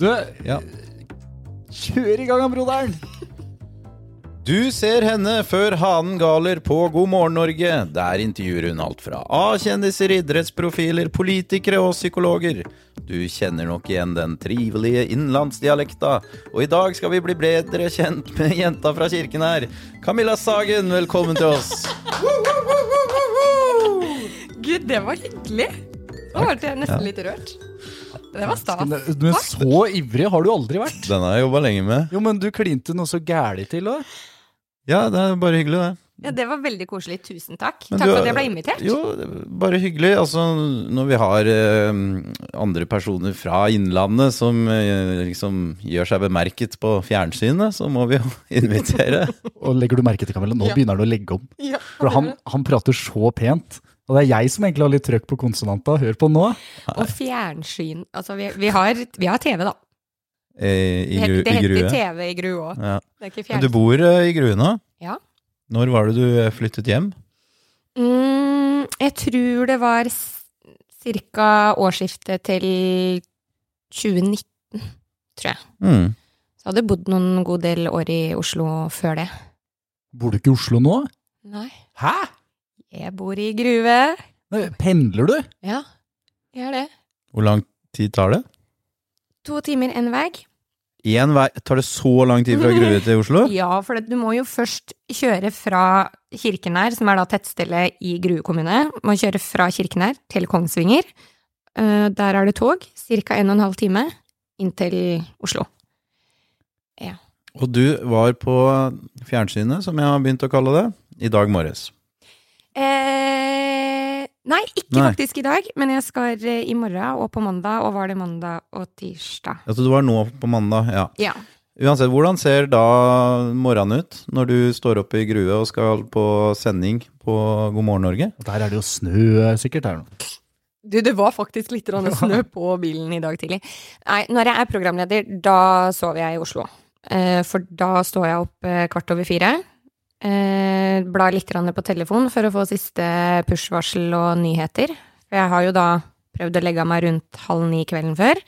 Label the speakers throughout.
Speaker 1: Du,
Speaker 2: Ja.
Speaker 1: kjør i gang, broderen!
Speaker 2: Du ser henne før hanen galer på God morgen Norge. Der intervjuer hun alt fra A-kjendiser, idrettsprofiler, politikere og psykologer. Du kjenner nok igjen den trivelige innlandsdialekta, og i dag skal vi bli bedre kjent med jenta fra kirken her. Camilla Sagen, velkommen til oss.
Speaker 3: Gud, det var hyggelig. Nå ble jeg nesten litt rørt. Det var stas.
Speaker 1: Men så ivrig har du aldri vært.
Speaker 2: Den har jeg jobba lenge med.
Speaker 1: Jo, men du klinte noe så gæli til òg.
Speaker 2: Ja, det er bare hyggelig, det.
Speaker 3: Ja, det var veldig koselig. Tusen takk.
Speaker 2: Men
Speaker 3: takk
Speaker 2: du-
Speaker 3: for at jeg ble invitert.
Speaker 2: Jo, bare hyggelig. Altså, når vi har eh, andre personer fra Innlandet som eh, liksom gjør seg bemerket på fjernsynet, så må vi jo invitere.
Speaker 1: Og legger du merke til, Camilla, nå
Speaker 3: Ja.
Speaker 1: begynner han å legge om.
Speaker 3: Ja,
Speaker 1: For han, han prater så pent. Og det er jeg som egentlig har litt trøkk på konsonanta. Hør på nå.
Speaker 3: Og fjernsyn. Altså, vi, vi, har, vi har TV, da.
Speaker 2: eh, I,
Speaker 3: Det
Speaker 2: gru,
Speaker 3: heter, det
Speaker 2: i
Speaker 3: heter
Speaker 2: grue.
Speaker 3: TV i Grue òg.
Speaker 2: Ja.
Speaker 3: Det er ikke
Speaker 2: Men du
Speaker 3: fjernsyn.
Speaker 2: bor eh, i Grue nå?
Speaker 3: Ja.
Speaker 2: Når var det du eh, flyttet hjem?
Speaker 3: Mm, jeg tror det var ca. årsskiftet til 2019, tror jeg.
Speaker 2: Mm.
Speaker 3: Så hadde jeg bodd noen god del år i Oslo før det.
Speaker 1: Bor du ikke i Oslo nå?
Speaker 3: Nei,
Speaker 1: Hæ?
Speaker 3: jeg bor i Grue.
Speaker 1: Nei, Pendler du?
Speaker 3: Ja, jeg gjør det.
Speaker 2: Hvor lang tid tar det?
Speaker 3: To timer én vei.
Speaker 2: En vei. Tar det så lang tid fra Grue til Oslo?
Speaker 3: Ja, for det, du må jo først kjøre fra Kirkenær, som er da tettstedet i Grue kommune. Du Må kjøre fra Kirkenær til Kongsvinger. Eh, der er det tog, ca. en og en halv time inn til Oslo.
Speaker 2: Og du var på fjernsynet, som jeg har begynt å kalle det, i dag morges.
Speaker 3: Eh, nei, ikke
Speaker 2: Nei.
Speaker 3: faktisk i dag, men jeg skal eh, i morgen og på mandag, og var det mandag og tirsdag.
Speaker 2: Altså, du var nå på mandag, ja.
Speaker 3: Ja.
Speaker 2: Uansett, hvordan ser da morgenen ut når du står opp i grue og skal på sending på God morgen Norge?
Speaker 1: Og Der er det jo snø sikkert. Er det noe.
Speaker 3: Du, det var faktisk litt grann snø på bilen i dag tidlig. Nei, når jeg er programleder, da sover jeg i Oslo. Eh, For da står jeg opp eh, kvart over fire. eh, Blar litt grann på telefon for å få siste push-varsel og nyheter. For jeg har jo da prøvd å legge av meg rundt halv ni kvelden før.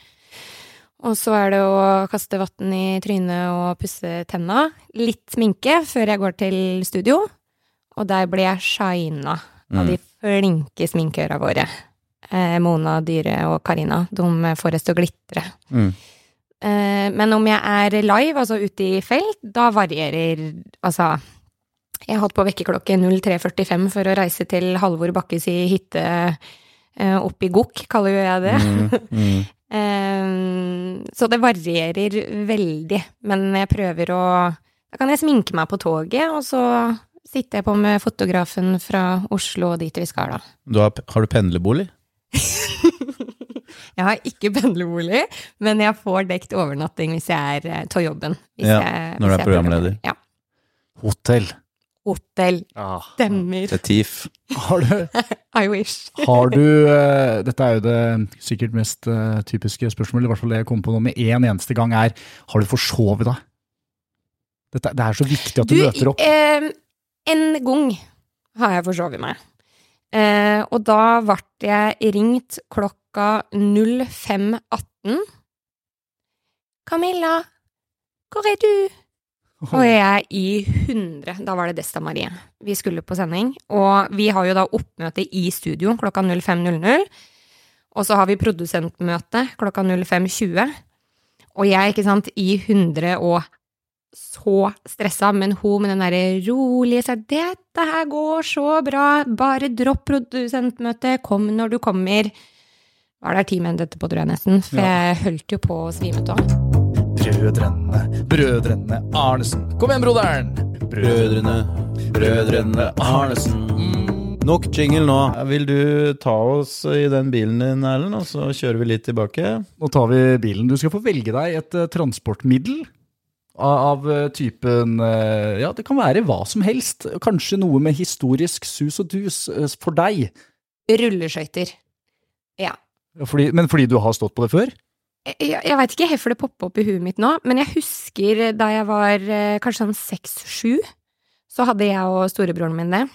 Speaker 3: Og så er det å kaste vann i trynet og pusse tenna. Litt sminke før jeg går til studio. Og der blir jeg shina av de flinke sminkøra våre. Eh, Mona, Dyre og Karina. De får oss til å glitre.
Speaker 2: Mm.
Speaker 3: Eh, men om jeg er live, altså ute i felt, da varierer altså Jeg holdt på vekkerklokke 03.45 for å reise til Halvor Bakkes i hytte eh, oppe i Gokk, kaller jo jeg det.
Speaker 2: Mm.
Speaker 3: Eh, Så det varierer veldig, men jeg prøver å Da kan jeg sminke meg på toget, og så sitter jeg på med fotografen fra Oslo og dit vi skal, da.
Speaker 2: Du har, har du pendlerbolig?
Speaker 3: Jeg har ikke pendlerbolig, men jeg får dekt overnatting hvis jeg er eh, tar jobben. Hvis
Speaker 2: Ja, når
Speaker 3: jeg,
Speaker 2: du
Speaker 3: hvis
Speaker 2: er
Speaker 3: jeg
Speaker 2: programleder.
Speaker 3: Ja.
Speaker 1: Hotell.
Speaker 3: Hotell.
Speaker 1: Ja.
Speaker 3: Stemmer.
Speaker 2: Til TIF.
Speaker 1: Har du
Speaker 3: I wish.
Speaker 1: Har du eh, Dette er jo det sikkert mest eh, typiske spørsmålet, i hvert fall det jeg kom på nå med en eneste gang, er har du forsovet deg? Dette, det er så viktig at du, møter opp.
Speaker 3: eh, en gang har jeg forsovet meg. Eh, og da ble jeg ringt klokka 05.18. Camilla, hvor er du? Og jeg er i 100. Da var det Desta Marie. Vi skulle på sending, og vi har jo da oppmøte i studio klokka 05.00. Og så har vi produsentmøte klokka 05.20. Og jeg, ikke sant, i 100 og så stressa, men hun med den derre rolige seg, 'Dette her går så bra, bare dropp produsentmøtet, kom når du kommer'. Var der ti minutter etterpå, tror jeg nesten, for jeg holdt jo på å svime av.
Speaker 1: Brødrene, brødrene Arnesen. Kom igjen, broderen!
Speaker 2: Brødrene, brødrene
Speaker 1: Mm.
Speaker 2: Arnesen. Nok jingle nå. Vil du ta oss i den bilen din, Erlend, og så kjører vi litt tilbake?
Speaker 1: Nå tar vi bilen. Du skal få velge deg et eh, transportmiddel av, av eh, typen eh, Ja, det kan være hva som helst. Kanskje noe med historisk sus og dus eh, for deg.
Speaker 3: Rulleskøyter.
Speaker 1: Fordi, men fordi du har stått på det før?
Speaker 3: Jeg, jeg veit ikke hvorfor det poppa opp i huet mitt nå, men jeg husker da jeg var eh, kanskje sånn seks-sju, så hadde jeg og storebroren min det.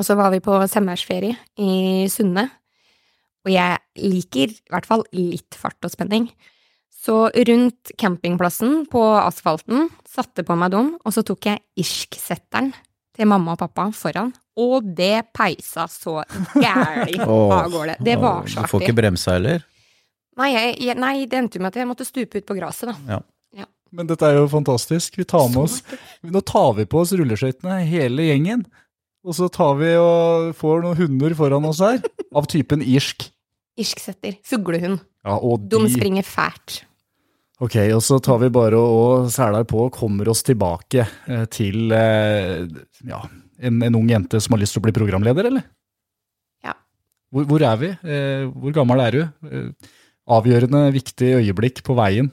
Speaker 3: Og så var vi på semmersferie i Sunne. Og jeg liker i hvert fall litt fart og spenning. Så rundt campingplassen på asfalten satte på meg dem, og så tok jeg irsksetteren til mamma og pappa foran, og det peisa så gæli
Speaker 2: Åh.
Speaker 3: av gårde. Det var så
Speaker 2: Du får
Speaker 3: artig.
Speaker 2: ikke bremsa heller.
Speaker 3: Nei, jeg, jeg, nei, det endte jo med at jeg måtte stupe ut på gresset, da.
Speaker 1: Men dette er jo fantastisk. Vi tar med oss Nå tar vi på oss rulleskøytene, hele gjengen. Og så tar vi og får noen hunder foran oss her, av typen irsk.
Speaker 3: Irsksetter. Fuglehund.
Speaker 1: Ja, og
Speaker 3: De
Speaker 1: de
Speaker 3: springer fælt.
Speaker 1: Ok, og så tar vi bare og og seler på og kommer oss tilbake eh, til eh, ja, en, en ung jente som har lyst til å bli programleder, eller?
Speaker 3: Ja.
Speaker 1: Hvor, hvor er vi? Eh, Hvor gammel er du? Eh, Avgjørende viktig øyeblikk på veien.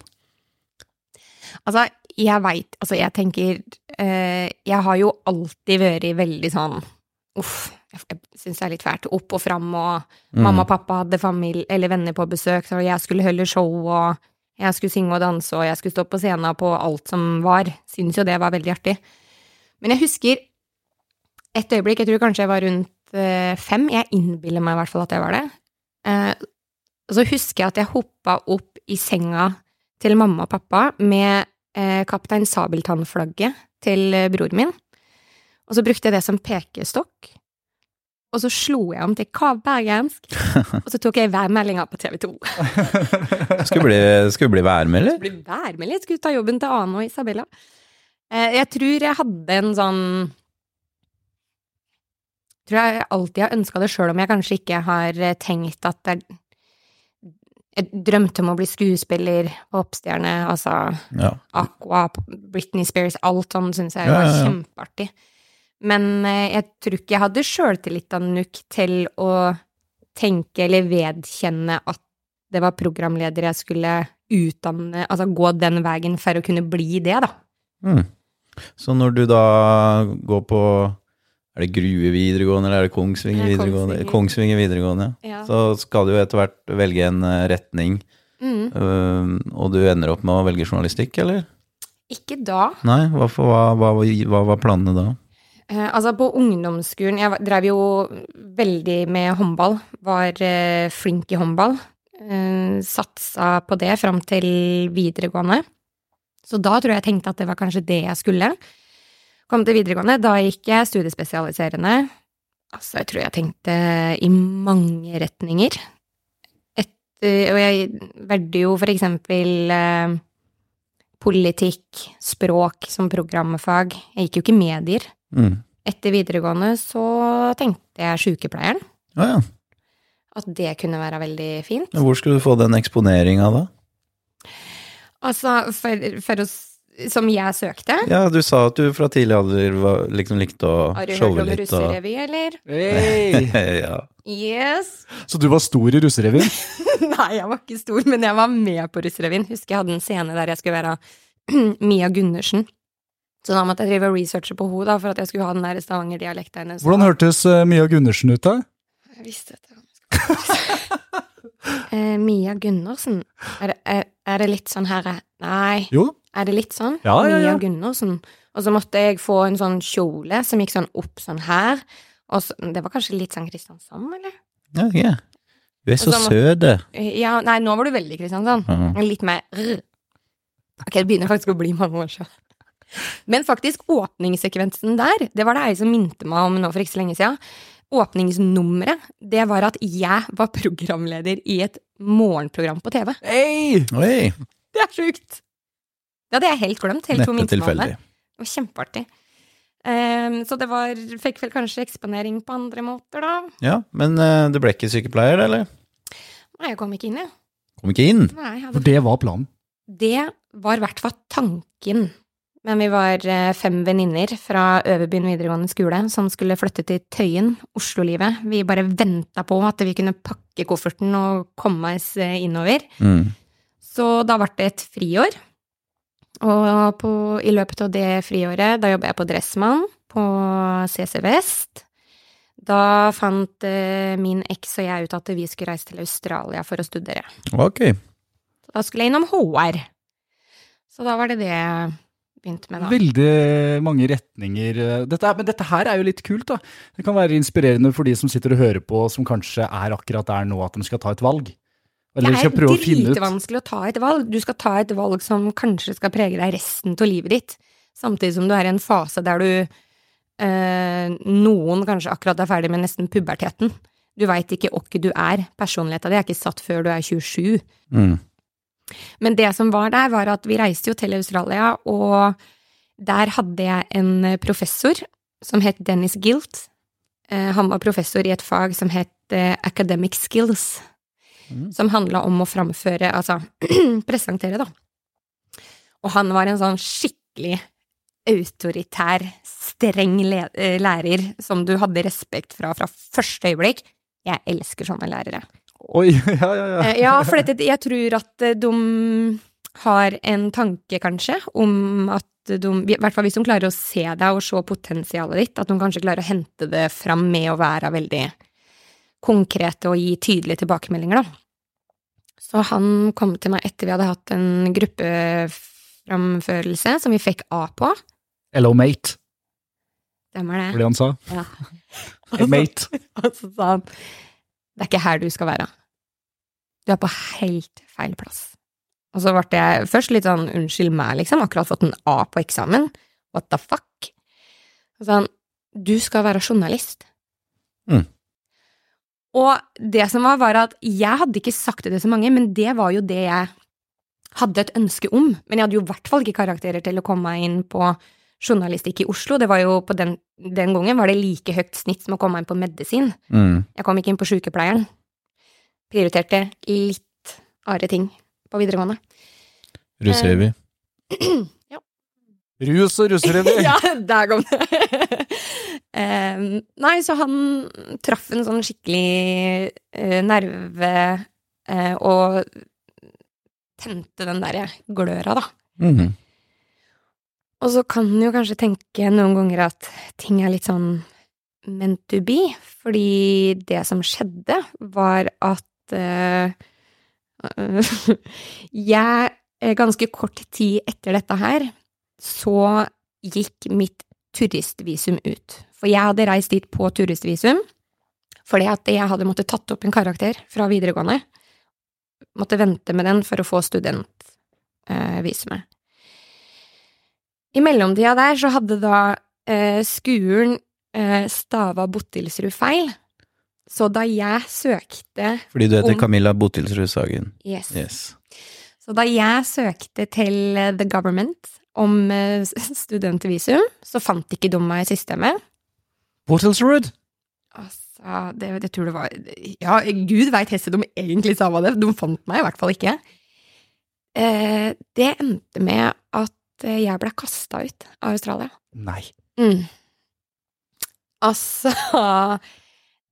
Speaker 3: Altså, jeg veit Altså, jeg tenker eh, Jeg har jo alltid vært veldig sånn Uff, jeg, jeg syns det er litt fælt. Opp og fram, og
Speaker 2: Mm.
Speaker 3: mamma og pappa hadde familie eller venner på besøk, så jeg skulle holde show, og jeg skulle synge og danse, og jeg skulle stå på scenen på alt som var. Syns jo det var veldig artig. Men jeg husker et øyeblikk, jeg tror kanskje jeg var rundt eh, fem, jeg innbiller meg i hvert fall at jeg var det. Eh, og så husker jeg at jeg hoppa opp i senga til mamma og pappa med eh, Kaptein Sabeltann-flagget til eh, bror min. Og så brukte jeg det som pekestokk. Og så slo jeg om til kavbergensk. Og så tok jeg værmeldinga på TV 2.
Speaker 2: Skulle bli, skulle bli værmelder.
Speaker 3: Ble værmelding. Jeg skulle ta jobben til Ane og Isabella. Eh, jeg tror jeg hadde en sånn Tror jeg alltid har ønska det sjøl, om jeg kanskje ikke har eh, tenkt at det er Jeg drømte om å bli skuespiller, popstjerne, altså
Speaker 2: Ja.
Speaker 3: Aqua, Britney Spears, alt sånn syns jeg
Speaker 2: Ja,
Speaker 3: var
Speaker 2: ja, ja.
Speaker 3: kjempeartig. Men eh, jeg tror ikke jeg hadde sjøltillit nok til å tenke eller vedkjenne at det var programleder jeg skulle utdanne, altså gå den veien for å kunne bli det, da.
Speaker 2: Mm. Så når du da går på Er det Grue videregående, eller er det Kongsvinger
Speaker 3: Ja,
Speaker 2: videregående?
Speaker 3: Kongsvinger.
Speaker 2: Kongsvinger videregående,
Speaker 3: Ja.
Speaker 2: Så skal du jo etter hvert velge en eh, retning,
Speaker 3: Mm.
Speaker 2: øhm, og du ender opp med å velge journalistikk, eller?
Speaker 3: Ikke da.
Speaker 2: Nei, hva, for- hva, hva, hva var planene da?
Speaker 3: Eh, altså, på ungdomsskolen Jeg var- drev jo veldig med håndball. Var eh, flink i håndball. Eh, satsa på det fram til videregående. Så da tror jeg jeg tenkte at det var kanskje det jeg skulle. Kom til videregående, da gikk jeg studiespesialiserende. Altså, jeg tror jeg tenkte i mange retninger. Etter, og jeg valgte jo for eksempel eh, politikk, språk som programfag. Jeg gikk jo ikke medier.
Speaker 2: Mm.
Speaker 3: Etter videregående så tenkte jeg sykepleieren,
Speaker 2: Ja, ja.
Speaker 3: at det kunne være veldig fint.
Speaker 2: Men Hvor skulle du få den eksponeringa da?
Speaker 3: Altså, for, for oss som jeg søkte
Speaker 2: Ja, du sa at du fra tidlig alder var, liksom likte å
Speaker 3: Har du hørt
Speaker 2: showe
Speaker 3: om
Speaker 2: litt og
Speaker 3: russerevy, eller?
Speaker 2: ja.
Speaker 3: Yes!
Speaker 1: Så du var stor i russerevyen?
Speaker 3: Nei, jeg var ikke stor, men jeg var med på russerevyen. Husker jeg hadde en scene der jeg skulle være Mia Gundersen. Så da måtte jeg drive og researche på henne, da, for at jeg skulle ha den der Stavanger-dialekten hennes.
Speaker 1: Hvordan hørtes eh, Mia Gundersen ut da?
Speaker 3: Jeg visste at jeg Eh, Mia Gundersen? Er det, er, er det litt sånn her Nei.
Speaker 1: Jo,
Speaker 3: Er det litt sånn?
Speaker 1: Ja, ja, ja.
Speaker 3: Mia Gundersen. Og så måtte jeg få en sånn kjole som gikk sånn opp sånn her. Og så, det var kanskje litt sånn Kristiansand, eller?
Speaker 2: ja, ja. Du er så
Speaker 3: Og så må-
Speaker 2: søt, du.
Speaker 3: Eh, Ja, nei, nå var du veldig Kristiansand.
Speaker 2: Ja.
Speaker 3: Litt mer rr. Ok, det begynner faktisk å bli mange år siden. Men faktisk, åpningssekvensen der, det var det ei som minte meg om nå for ikke så lenge siden. Åpningsnummeret, det var at jeg var programleder i et morgenprogram på TV.
Speaker 1: Hey!
Speaker 2: Oi,
Speaker 3: Det er sjukt! Det hadde jeg helt glemt. Helt
Speaker 2: neppe tilfeldig.
Speaker 3: Det var kjempeartig. Ehm, så det var Fikk vel kanskje eksponering på andre måter, da.
Speaker 2: Ja, men eh, du ble ikke sykepleier, eller?
Speaker 3: Nei, jeg kom ikke inn, jeg.
Speaker 2: Kom ikke inn.
Speaker 3: Nei, jeg
Speaker 1: For
Speaker 3: hadde...
Speaker 1: det var planen.
Speaker 3: Det var i hvert fall tanken. Men vi var eh, fem venninner fra Øverbyen videregående skole som skulle flytte til Tøyen, Oslo-livet. Vi bare venta på at vi kunne pakke kofferten og komme oss eh, innover.
Speaker 2: Mm.
Speaker 3: Så da ble det et friår. Og på, i løpet av det friåret, da jobba jeg på Dressmann på CC Vest. Da fant eh, min eks og jeg ut at vi skulle reise til Australia for å studere.
Speaker 2: Ok.
Speaker 3: Så da skulle jeg innom HR. Så da var det det jeg begynte med, da.
Speaker 1: Veldig mange retninger. eh, Dette er, men dette her er jo litt kult, da. Det kan være inspirerende for de som sitter og hører på, som kanskje er akkurat der nå at de skal ta et valg. Eller
Speaker 3: det
Speaker 1: skal
Speaker 3: er
Speaker 1: prøve å finne ut.
Speaker 3: dritvanskelig å ta et valg. Du skal ta et valg som kanskje skal prege deg resten av livet ditt, samtidig som du er i en fase der du eh, Noen kanskje akkurat er ferdig med nesten puberteten. Du veit ikke åkke du er. Personligheta di er ikke satt før du er 27.
Speaker 2: Mm.
Speaker 3: Men det som var der, var at vi reiste jo til Australia, og der hadde jeg en professor som het Dennis Gilt. Eh, Han var professor i et fag som het eh, academic skills,
Speaker 2: Mm.
Speaker 3: som handla om å framføre, altså presentere, da. Og han var en sånn skikkelig autoritær, streng le- eh, lærer som du hadde respekt fra fra første øyeblikk. Jeg elsker sånne lærere.
Speaker 1: Oi, ja, ja, ja.
Speaker 3: Eh, Ja, for dette, jeg tror at eh, de har en tanke, kanskje, om at de I hvert fall hvis de klarer å se deg og se potensialet ditt, at de kanskje klarer å hente det fram med å være veldig konkrete og gi tydelige tilbakemeldinger, da. Så han kom til meg etter vi hadde hatt en gruppeframførelse som vi fikk A på.
Speaker 1: Hello, mate,
Speaker 3: Stemmer det?
Speaker 1: var det han sa.
Speaker 3: Ja.
Speaker 1: Hey, mate.
Speaker 3: Og så sa han Det er ikke her du skal være. Du er på helt feil plass. Og så ble jeg først litt sånn unnskyld meg, liksom, akkurat fått en A på eksamen. What the fuck? Og så sa han du skal være journalist.
Speaker 2: Mm.
Speaker 3: Og det som var, var at jeg hadde ikke sagt det til så mange, men det var jo det jeg hadde et ønske om. Men jeg hadde jo i hvert fall ikke karakterer til å komme meg inn på journalistikk i Oslo. Det var jo på den, den gangen var det like høyt snitt som å komme inn på medisin.
Speaker 2: Mm.
Speaker 3: Jeg kom ikke inn på sykepleieren. Prioriterte litt andre ting på videregående.
Speaker 2: Russerevy.
Speaker 1: Rus og russerevy.
Speaker 3: ja, der kom det! Em, nei, så han traff en sånn skikkelig eh, nerve eh, og tente den derre gløra, da.
Speaker 2: Mm.
Speaker 3: Og så kan en jo kanskje tenke noen ganger at ting er litt sånn meant to be, fordi det som skjedde, var at eh, Jeg, eh, ganske kort tid etter dette her, så gikk mitt turistvisum ut. For jeg hadde reist dit på turistvisum fordi at jeg hadde måttet tatt opp en karakter fra videregående. Måtte vente med den for å få studentvisumet. I mellomtida der så hadde da eh, skolen eh, stava Bottilsrud feil. Så da jeg søkte
Speaker 2: Fordi du heter
Speaker 3: Om-
Speaker 2: Camilla Botilsrud Sagen.
Speaker 3: Yes.
Speaker 2: Yes.
Speaker 3: Så da jeg søkte til eh, The Government om eh, studentvisum, så fant ikke de meg i systemet.
Speaker 1: Portelsrud.
Speaker 3: Altså, det, det tror det var Ja, gud veit hesse de egentlig sa hva det De fant meg i hvert fall ikke. Eh, det endte med at eh, jeg ble kasta ut av Australia.
Speaker 1: Nei.
Speaker 3: Mm. Altså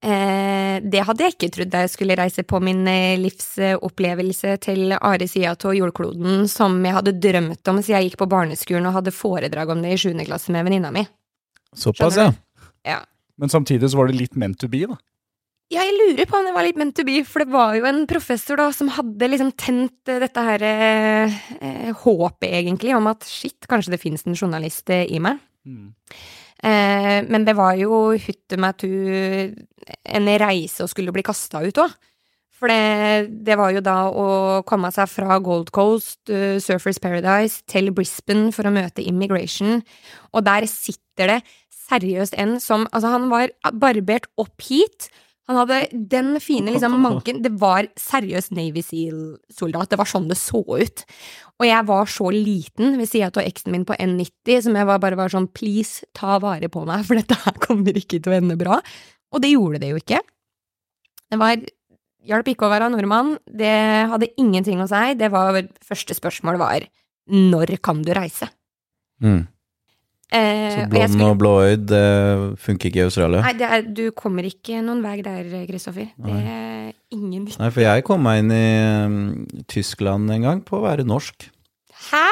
Speaker 3: eh, Det hadde jeg ikke trodd da jeg skulle reise på min eh, livsopplevelse til are sida av jordkloden som jeg hadde drømt om siden jeg gikk på barneskolen og hadde foredrag om det i sjuende klasse med venninna mi.
Speaker 2: Såpass, ja.
Speaker 3: Skjønner
Speaker 1: Men samtidig så var det litt meant to be, da.
Speaker 3: Ja, jeg lurer på om det var litt meant to be, for det var jo en professor da som hadde liksom tent eh, dette her eh, eh, håpet, egentlig, om at shit, kanskje det finnes en journalist eh, i meg. Eh, men det var jo hutte meg tu en reise å skulle bli kasta ut òg. For det, det var jo da å komme seg fra Gold Coast, eh, Surfers Paradise, til Brisbane for å møte Immigration. Og der sitter det seriøst en som Altså, han var barbert opp hit. Han hadde den fine liksom, manken Det var seriøst Navy Seal-soldat. Det var sånn det så ut. Og jeg var så liten ved sida av eksen min på N90 som jeg var bare var sånn please, ta vare på meg, for dette her kommer ikke til å ende bra. Og det gjorde det jo ikke. Det var hjalp ikke å være nordmann, det hadde ingenting å si. Det var første spørsmål var når kan du reise?
Speaker 2: Mm.
Speaker 3: Eh,
Speaker 2: Så
Speaker 3: og jeg
Speaker 2: blond
Speaker 3: skulle-
Speaker 2: og blåøyd det funker ikke i Australia.
Speaker 3: Nei, det er, du kommer ikke noen vei der, Kristoffer. Det er ingen
Speaker 2: Nei, for jeg kom meg inn i mm, Tyskland en gang på å være norsk.
Speaker 3: Hæ?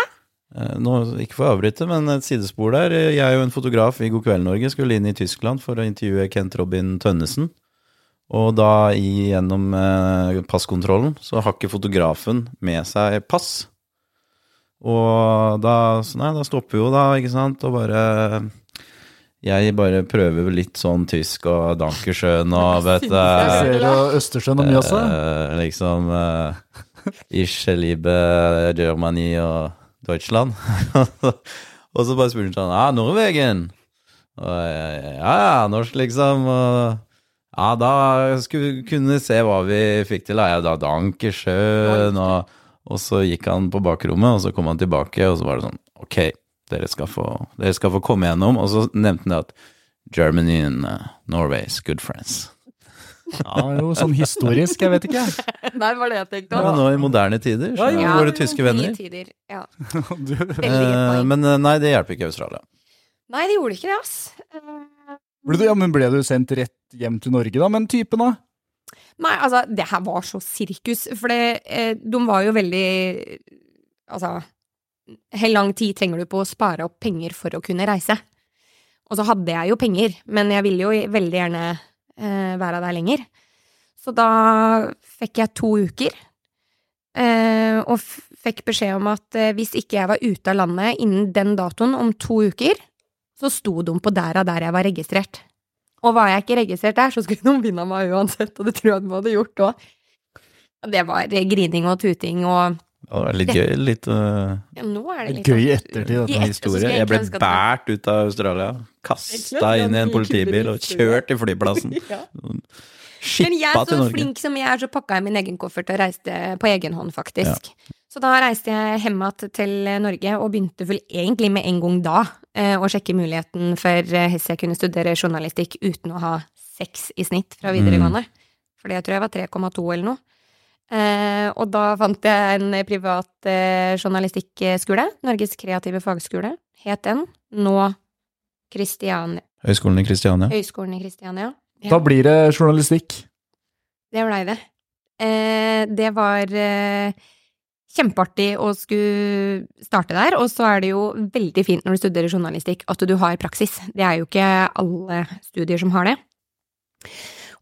Speaker 2: Eh, Nå, ikke for å avbryte, men et sidespor der. Eh, Jeg og en fotograf i God kveld Norge skulle inn i Tyskland for å intervjue Kent Robin Tønnesen. Og da i- gjennom eh, passkontrollen så har ikke fotografen med seg pass. Og da, så nei, da stopper vi jo da, ikke sant, og bare Jeg bare prøver litt sånn tysk og Dankersjøen og vet du
Speaker 1: Jeg ser
Speaker 3: Synes
Speaker 1: jo Østersjøen og Mjøsa.
Speaker 2: eh, Liksom eh, Ich liebe Germany og Deutschland. og så bare spurte han sånn Ja, Norwegen? Og jeg, ja, ja, norsk, liksom. Og ja, da skulle vi kunne se hva vi fikk til. da. Ja, da Dankersjøen og Og så gikk han på bakrommet, og så kom han tilbake, og så var det sånn Ok, dere skal få, dere skal få komme gjennom. Og så nevnte han det at Germany and eh, Norway is good friends.
Speaker 1: Ja, jo, sånn historisk, jeg vet ikke.
Speaker 3: Nei, var det jeg tenkte
Speaker 2: Ja, men nå i moderne tider så
Speaker 1: Ja, ja.
Speaker 2: var det tyske venner.
Speaker 3: I tider, ja.
Speaker 1: Du,
Speaker 3: Veldig godt
Speaker 2: Eh,
Speaker 3: poeng.
Speaker 2: Men eh, nei, det hjelper ikke Australia.
Speaker 3: Nei, det gjorde ikke det, ass. Eh,
Speaker 1: ble du, ja, men ble du sendt rett hjem til Norge, da? Men typen, da?
Speaker 3: Nei, altså, det her var så sirkus, for det, eh, de var jo veldig Altså, hvor lang tid trenger du på å spare opp penger for å kunne reise? Og så hadde jeg jo penger, men jeg ville jo veldig gjerne eh, være der lenger. Så da fikk jeg to uker, eh, og f fikk beskjed om at eh, hvis ikke jeg var ute av landet innen den datoen om to uker, så sto de på dæra der jeg var registrert. Og var jeg ikke registrert der, så skulle noen vinne meg uansett, og det tror jeg de hadde gjort òg. Det var grining og tuting og
Speaker 2: Det hadde vært litt gøy. Litt eh,
Speaker 3: ja, Nå er det sånn- litt
Speaker 1: Gøy i ettertid, dette.
Speaker 3: Ja.
Speaker 2: en
Speaker 3: Yes, og så
Speaker 2: historie.
Speaker 3: skulle jeg
Speaker 2: Jeg ble
Speaker 3: ønske at-
Speaker 2: båret ut av Australia,
Speaker 3: Jeg
Speaker 2: kasta
Speaker 3: skulle
Speaker 2: inn i en
Speaker 3: ønske at jeg
Speaker 2: politibil
Speaker 3: kunne
Speaker 2: og
Speaker 3: historie.
Speaker 2: kjørt til flyplassen.
Speaker 3: Ja. Men jeg
Speaker 2: Skippa
Speaker 3: er
Speaker 2: til
Speaker 3: så
Speaker 2: Norge.
Speaker 3: flink som jeg er, så pakka jeg min egen koffert og reiste på egen hånd, faktisk. Så da reiste jeg hjem igjen til Norge, og begynte vel egentlig med en gang da eh, å sjekke muligheten for eh, hvis jeg kunne studere journalistikk uten å ha seks i snitt
Speaker 2: Mm.
Speaker 3: fra videregående. For det tror jeg var 3,2 eller noe. Eh, og da fant jeg en privat eh, journalistikkskole. Norges kreative fagskole het den. Nå Kristiania.
Speaker 2: Høgskolen i Kristiania.
Speaker 3: Høgskolen i Kristiania. Ja.
Speaker 1: Da blir det journalistikk.
Speaker 3: Det blei det. Eh, det var eh, kjempeartig å skulle starte der, og så er det jo veldig fint når du studerer journalistikk at du har praksis. Det er jo ikke alle studier som har det.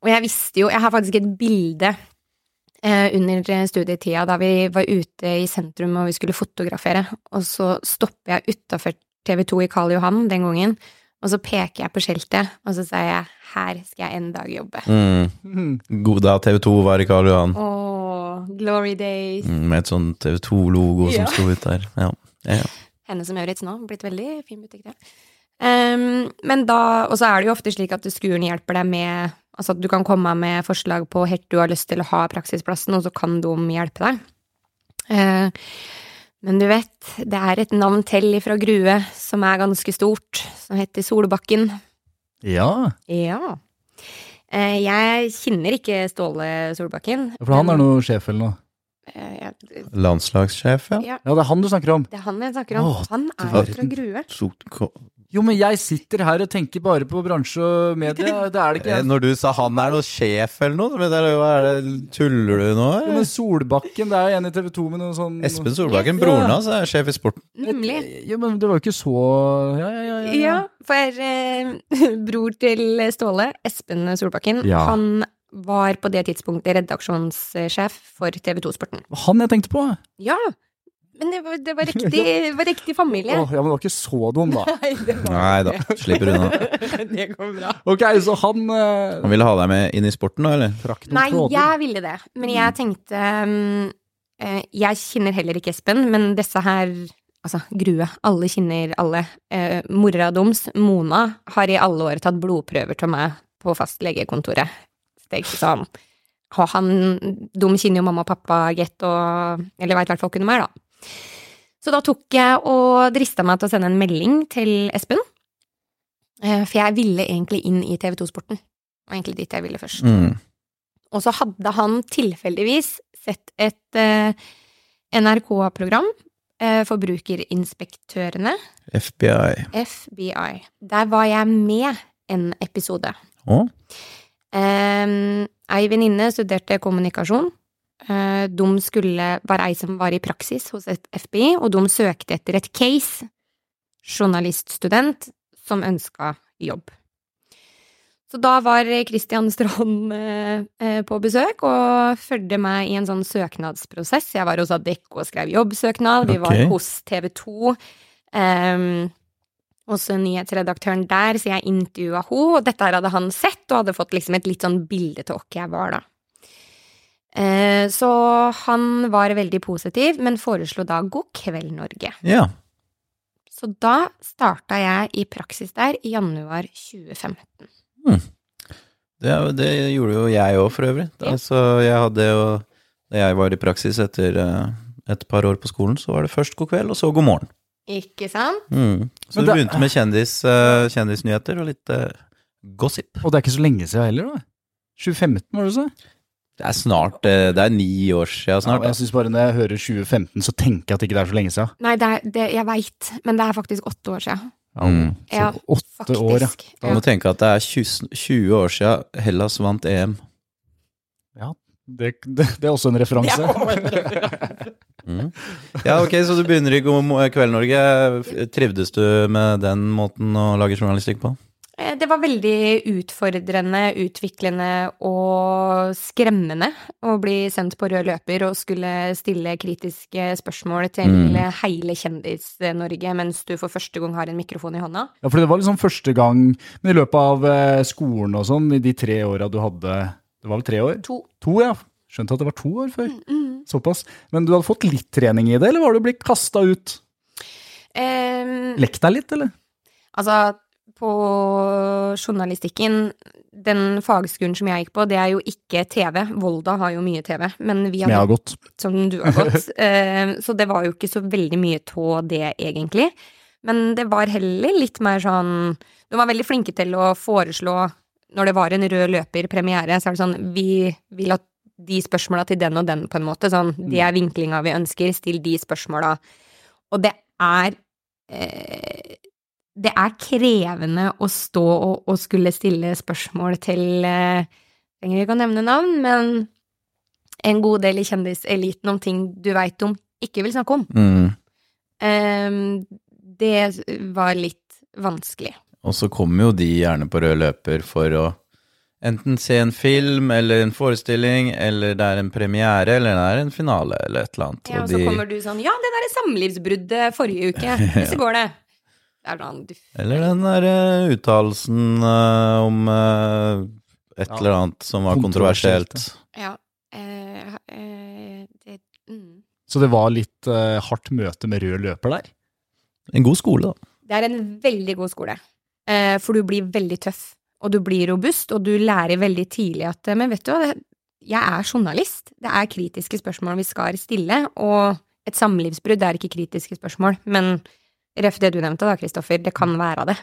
Speaker 3: Og jeg visste jo Jeg har faktisk et bilde eh, under studietida da vi var ute i sentrum og vi skulle fotografere, og så stopper jeg utafor TV 2 i Karl Johan den gangen, og så peker jeg på skiltet, og så sier jeg 'her skal jeg en dag jobbe'.
Speaker 2: Mm.
Speaker 1: Mm.
Speaker 2: God da TV 2 var i Karl Johan,
Speaker 3: Åh, glory days.
Speaker 2: Mm, med et sånn TV 2-logo som
Speaker 3: Ja.
Speaker 2: sto ut der. Ja. Ja, ja.
Speaker 3: Henne som Maurits nå. Blitt veldig fin butikk, det. Ehm, men da, og så er det jo ofte slik at skolen hjelper deg med Altså at du kan komme med forslag på helt du har lyst til å ha praksisplassen, og så kan de hjelpe deg. Eh, men du vet, det er et navn til fra Grue som er ganske stort, som heter Solbakken.
Speaker 1: Ja,
Speaker 3: Ja. Eh, jeg kjenner ikke Ståle Solbakken.
Speaker 1: for han er noe sjef eller noe.
Speaker 3: Eh, jeg-
Speaker 2: Landslagssjef, ja.
Speaker 3: ja,
Speaker 1: Ja, det er han du snakker om.
Speaker 3: det er han jeg snakker om.
Speaker 1: Åh,
Speaker 3: han
Speaker 1: du
Speaker 3: er jo
Speaker 1: verden.
Speaker 3: fra Grue.
Speaker 2: Så- ko-
Speaker 1: Jo, men jeg sitter her og tenker bare på bransje og media. Det er det ikke.
Speaker 2: Eh, Når du sa han er noe sjef eller noe, men det er, hva er det, tuller du nå?
Speaker 1: Jo,
Speaker 2: eller?
Speaker 1: men Solbakken, det er jo en i TV 2 med noe sånn
Speaker 2: Espen Solbakken, broren hans, er sjef i sporten.
Speaker 3: Nemlig.
Speaker 1: Ja, men det var jo ikke så Ja, ja, ja. ja, ja.
Speaker 3: Ja, for eh, bror til Ståle, Espen Solbakken,
Speaker 1: Ja.
Speaker 3: han var på det tidspunktet redaksjonssjef for TV 2-sporten.
Speaker 1: Han jeg tenkte på. Åh,
Speaker 3: Ja, men det var, det var, riktig, det var riktig familie.
Speaker 1: ja, men det var ikke så dum, da.
Speaker 3: Nei, det
Speaker 2: Nei da, slipper unna.
Speaker 3: det går bra.
Speaker 1: Ok, så han eh,
Speaker 2: Han ville ha deg med inn i sporten, da, eller?
Speaker 1: trakk noen
Speaker 3: Nei,
Speaker 1: tråder.
Speaker 3: jeg ville det, men jeg tenkte mm, eh, Jeg kjenner heller ikke Espen, men disse her Altså, Grue. Alle kjenner alle. Eh, mora deres, Mona, har i alle år tatt blodprøver til meg på fastlegekontoret. Så det er ikke sånn Og han De kjenner jo mamma og pappa, Gett, og Eller veit i hvert fall hvem de er, da. Så da tok jeg og drista meg til å sende en melding til Espen. Eh, For jeg ville egentlig inn i TV2-sporten. Det var egentlig dit jeg ville først.
Speaker 2: Mm.
Speaker 3: Og så hadde han tilfeldigvis sett et eh, NRK-program, eh, Forbrukerinspektørene,
Speaker 2: FBI.
Speaker 3: FBI. Der var jeg med en episode.
Speaker 2: Å?
Speaker 3: Um, ei venninne studerte kommunikasjon. Eh, de skulle være ei som var i praksis hos et FBI, og de søkte etter et case. Journaliststudent som ønska jobb. Så da var Kristian Strand eh, eh, på besøk og fulgte meg i en sånn søknadsprosess. Jeg var hos Adecco og skrev jobbsøknad, vi var
Speaker 2: Ok.
Speaker 3: hos TV 2. Um, hos nyhetsredaktøren der, så jeg intervjua henne, og dette her hadde han sett, og hadde fått liksom et litt sånn bilde til hvem jeg var, da. Eh, Så han var veldig positiv, men foreslo da God kveld, Norge.
Speaker 2: Ja.
Speaker 3: Så da starta jeg i praksis der i januar 2015.
Speaker 2: Det, det gjorde jo jeg òg, for øvrig.
Speaker 3: Ja.
Speaker 2: Altså, jeg hadde jo Da jeg var i praksis etter eh, et par år på skolen, så var det først god kveld, og så god morgen.
Speaker 3: Ikke sant?
Speaker 2: Mm. Så
Speaker 1: Men
Speaker 2: vi
Speaker 1: da-
Speaker 2: begynte med kjendis, eh, kjendisnyheter og litt eh, gossip.
Speaker 1: Og det er ikke så lenge siden heller, da. 2015, var det du sa?
Speaker 2: Det er snart eh, Det er ni år siden
Speaker 1: Ja,
Speaker 2: snart. altså.
Speaker 1: og jeg synes bare Når jeg hører 2015, så tenker jeg at det ikke er så lenge siden.
Speaker 3: Nei, det er, det, jeg veit, men det er faktisk åtte år sia.
Speaker 1: Ja,
Speaker 2: Mm.
Speaker 1: så
Speaker 3: Ja,
Speaker 1: åtte
Speaker 3: Faktisk.
Speaker 1: år, ja.
Speaker 2: Du må tenke at det er 20, 20 år siden Hellas vant EM.
Speaker 1: Det, det, det er også en referanse.
Speaker 2: Mm. Ja, ok, så du begynner i God mo- kveld, Norge. F- Trivdes du med den måten å lage journalistikk på?
Speaker 3: Eh, Det var veldig utfordrende, utviklende og skremmende å bli sendt på rød løper og skulle stille kritiske spørsmål til
Speaker 2: Mm.
Speaker 3: hele Kjendis-Norge mens du for første gang har en mikrofon i hånda.
Speaker 1: Ja, for det var liksom første gang Men i løpet av eh, skolen og sånn, i de tre åra du hadde Det var vel tre år?
Speaker 3: To.
Speaker 1: To, ja. Skjønte at det var to år før.
Speaker 3: Mm,
Speaker 1: Såpass. Men du hadde fått litt trening i det, eller var du blitt kasta ut?
Speaker 3: Eh,
Speaker 1: Lekt deg litt, eller?
Speaker 3: Altså, på journalistikken, den fagskolen som jeg gikk på, det er jo ikke TV. Volda har jo mye TV, men vi
Speaker 1: Som jeg
Speaker 3: hadde,
Speaker 1: har gått.
Speaker 3: som du har gått. eh, Så det var jo ikke så veldig mye av det, egentlig. Men det var heller litt mer sånn De var veldig flinke til å foreslå Når det var en rød løper-premiere, så er det sånn Vi vil at de spørsmåla til den og den, på en måte. Sånn, det er vinklinga vi ønsker. Still de spørsmåla. Og det er eh, det er krevende å stå og, og skulle stille spørsmål til eh, Trenger ikke å nevne navn, men en god del i kjendiseliten om ting du veit om ikke vil snakke om.
Speaker 2: Mm.
Speaker 3: Ehm, det var litt vanskelig.
Speaker 2: Og så kommer jo de gjerne på rød løper for å enten se en film eller en forestilling, eller det er en premiere, eller det er en finale, eller et eller annet.
Speaker 3: Ja, og så kommer du sånn Ja, det derre samlivsbruddet forrige uke, hvordan går det? Det er sånn, du
Speaker 2: Eller den der eh, uttalelsen eh, om eh, et
Speaker 1: Ja.
Speaker 2: eller annet som var
Speaker 1: Kontroversielt,
Speaker 2: kontroversielt.
Speaker 3: Ja. eh, eh, det, mm.
Speaker 1: Så det var litt eh, hardt møte med rød løper der.
Speaker 2: En god skole, da.
Speaker 3: Det er en veldig god skole, eh, for du blir veldig tøff, og du blir robust, og du lærer veldig tidlig at eh, Men vet du hva, det- jeg er journalist. Det er kritiske spørsmål vi skal stille, og et samlivsbrudd er ikke kritiske spørsmål, men ref det du nevnte da, Kristoffer, det kan være det.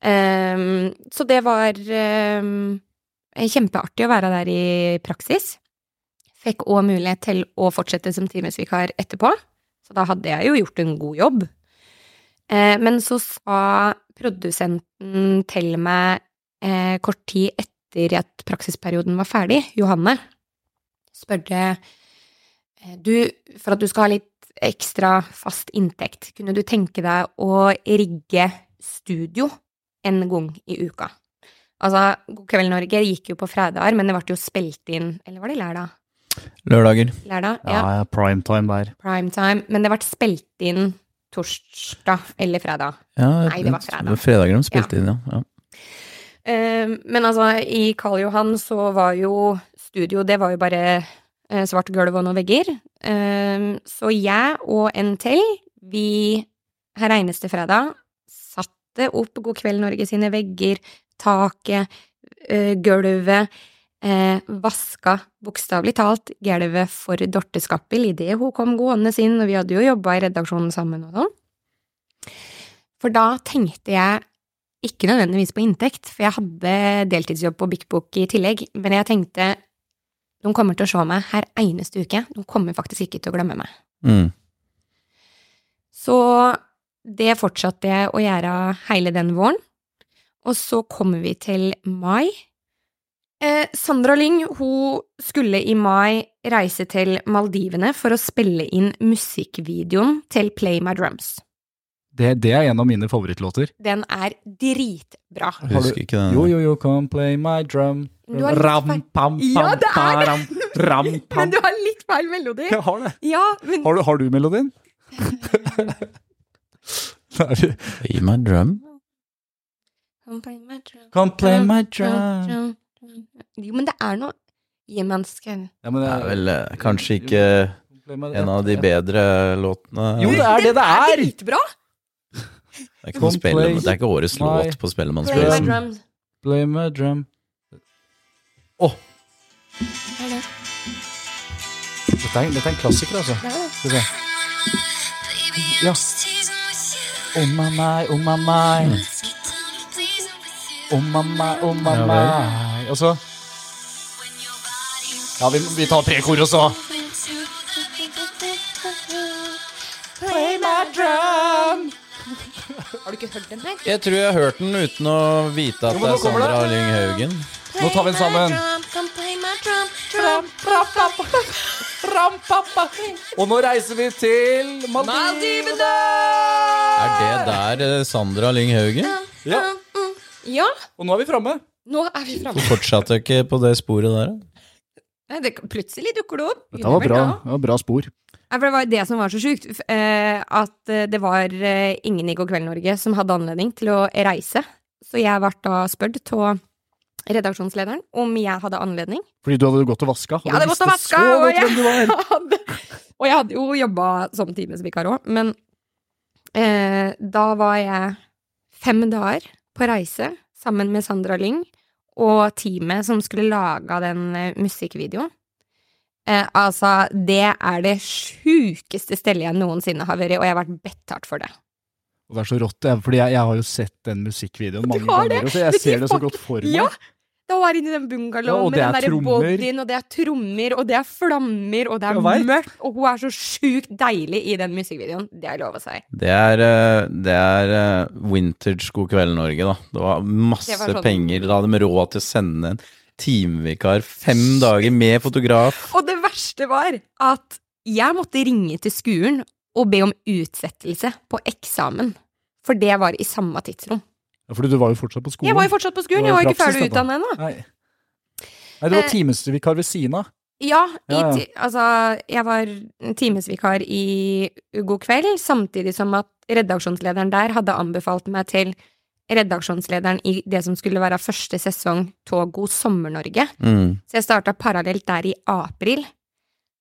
Speaker 3: Ehm, så det var ehm, kjempeartig å være der i praksis. Fikk òg mulighet til å fortsette som timesvikar etterpå, så da hadde jeg jo gjort en god jobb. Eh, Men så sa produsenten til meg eh, kort tid etter at praksisperioden var ferdig, Johanne, spurte eh, du, for at du skal ha litt ekstra fast inntekt, kunne du tenke deg å rigge studio en gang i uka? Altså, God kveld Norge gikk jo på fredager, men det ble jo spilt inn, eller var det lørdag?
Speaker 2: Lørdager.
Speaker 3: Lørdag,
Speaker 1: Ja,
Speaker 3: ja,
Speaker 1: ja prime time der.
Speaker 3: prime time, men det ble spilt inn torsdag eller fredag.
Speaker 2: Ja,
Speaker 3: Nei, det var fredag.
Speaker 2: det var Fredager de spilte inn, ja. ja.
Speaker 3: Eh, men altså, i Karl Johan så var jo studio, det var jo bare eh, svart gulv og noen vegger. Eh, så jeg og en til, vi her eneste fredag satte opp God kveld Norge sine vegger, taket, eh, gulvet. Eh, vaska bokstavelig talt gulvet for Dorte Skappel idet hun kom gående inn, og vi hadde jo jobba i redaksjonen sammen og sånn. For da tenkte jeg ikke nødvendigvis på inntekt, for jeg hadde deltidsjobb på Big Book i tillegg, men jeg tenkte de kommer til å se meg her eneste uke, de kommer faktisk ikke til å glemme meg.
Speaker 2: Mm.
Speaker 3: Så det fortsatte jeg å gjøre hele den våren. Og så kommer vi til mai. Eh, Sandra Lyng hun skulle i mai reise til Maldivene for å spille inn musikkvideoen til Play My Drums.
Speaker 1: Det, det er en av mine favorittlåter.
Speaker 3: Den er dritbra.
Speaker 2: Jeg
Speaker 1: Har du-
Speaker 2: Husker ikke den.
Speaker 1: Yo, yo, yo, come play my drum.
Speaker 3: Du har litt feil-
Speaker 1: Ram, pam, pam,
Speaker 3: Ja, det er det!
Speaker 1: param, ram, pam.
Speaker 3: Men du har litt feil melodi.
Speaker 1: Jeg har det.
Speaker 3: Ja, men
Speaker 1: Har du, har du melodien? Nei.
Speaker 2: Gi meg drum.
Speaker 3: Come play my drum,
Speaker 1: Come play my
Speaker 3: drum,
Speaker 1: drum.
Speaker 3: drum, drum. Jo, men det er noe jemensk her.
Speaker 1: Ja, men
Speaker 2: Det er vel eh, kanskje ikke
Speaker 1: Play my-
Speaker 2: en av de bedre låtene.
Speaker 1: Jo, det er det det er!
Speaker 3: dritbra!
Speaker 2: Det er ikke, noe spille, det er ikke årets
Speaker 1: Nei.
Speaker 2: låt på
Speaker 3: Play my
Speaker 1: Drum.
Speaker 2: Spellemannsprisen.
Speaker 3: drums.
Speaker 1: Play my drum. Å,
Speaker 3: Det er det.
Speaker 1: dette, er- dette er en klassiker, altså.
Speaker 3: Det er det.
Speaker 1: Skal vi se. Ja. Oh my my, oh my my. Oh my my, oh my
Speaker 2: Ja, vel.
Speaker 1: my. Og så Ja, vi, vi tar prekor også. Play my drum.
Speaker 3: Har du ikke hørt den her?
Speaker 2: Jeg tror jeg har hørt den uten å vite at
Speaker 1: Jo,
Speaker 2: det
Speaker 1: men
Speaker 2: er
Speaker 1: nå kommer
Speaker 2: Sandra
Speaker 1: det.
Speaker 2: Lyng Haugen.
Speaker 1: Nå tar vi den sammen. Og nå reiser vi til Maldivene!
Speaker 2: Er det der eh, Sandra Lyng Haugen?
Speaker 1: Ja.
Speaker 3: Ja,
Speaker 1: Og nå er vi framme.
Speaker 3: nå er vi framme.
Speaker 2: Fortsatte jeg ikke på det sporet der? da?
Speaker 3: Nei, det, plutselig dukker det opp.
Speaker 1: Dette var
Speaker 3: Universe,
Speaker 1: bra.
Speaker 3: ja.
Speaker 1: Det var bra spor.
Speaker 3: Nei, for Det var det som var så sjukt. f- eh, At eh, det var eh, ingen i God kveld Norge som hadde anledning til å reise. Så jeg ble da spurt av redaksjonslederen om jeg hadde anledning.
Speaker 1: Fordi du hadde gått og vaska. og
Speaker 3: Jeg hadde
Speaker 1: du
Speaker 3: gått og
Speaker 1: visste så
Speaker 3: vaska, og
Speaker 1: godt
Speaker 3: jeg-
Speaker 1: hvem du var.
Speaker 3: hadde, og jeg hadde jo jobba som timesvikar òg, men eh, da var jeg fem dager på reise sammen med Sandra Lyng og teamet som skulle lage den eh, musikkvideoen. Eh, altså, det er det sjukeste stedet jeg noensinne har vært, og jeg har vært betalt for det.
Speaker 1: Og det er så rått, det er- fordi jeg, jeg har jo sett den musikkvideoen mange
Speaker 3: har det?
Speaker 1: ganger, så jeg
Speaker 3: Men
Speaker 1: ser
Speaker 3: de
Speaker 1: det så
Speaker 3: fuck-
Speaker 1: godt for meg.
Speaker 3: Ja! Da var jeg inne i den
Speaker 1: Ja,
Speaker 3: bungalowen
Speaker 1: og
Speaker 3: med
Speaker 1: det
Speaker 3: den
Speaker 1: er
Speaker 3: derre
Speaker 1: trommer.
Speaker 3: bodyen, og det er trommer, og det er flammer, og det
Speaker 1: Jeg
Speaker 3: er
Speaker 1: vet.
Speaker 3: mørkt, og hun er så sjukt deilig i den musikkvideoen. Det er lov å si.
Speaker 2: Det er, eh, det er eh, vintage God kveld Norge, da. Det var masse
Speaker 3: Det var sånn-
Speaker 2: penger. Da hadde de råd til å sende en timevikar fem dager med fotograf.
Speaker 3: Og det verste var at jeg måtte ringe til skolen og be om utsettelse på eksamen. For det var i samme tidsrom.
Speaker 1: Ja, fordi du var jo fortsatt på skolen.
Speaker 3: Jeg var jo fortsatt på skolen,
Speaker 1: Det
Speaker 3: jeg
Speaker 1: var
Speaker 3: var jo ikke
Speaker 1: praksis,
Speaker 3: ferdig
Speaker 1: dette.
Speaker 3: utdannet ennå.
Speaker 1: Nei. Nei, du var
Speaker 3: Eh.
Speaker 1: timesvikar ved siden av.
Speaker 3: Ja, i,
Speaker 1: Ja, ja.
Speaker 3: ti- altså, jeg var timesvikar i God kveld, samtidig som at redaksjonslederen der hadde anbefalt meg til redaksjonslederen i det som skulle være første sesong av God sommer-Norge.
Speaker 2: Mm.
Speaker 3: Så jeg starta parallelt der i april,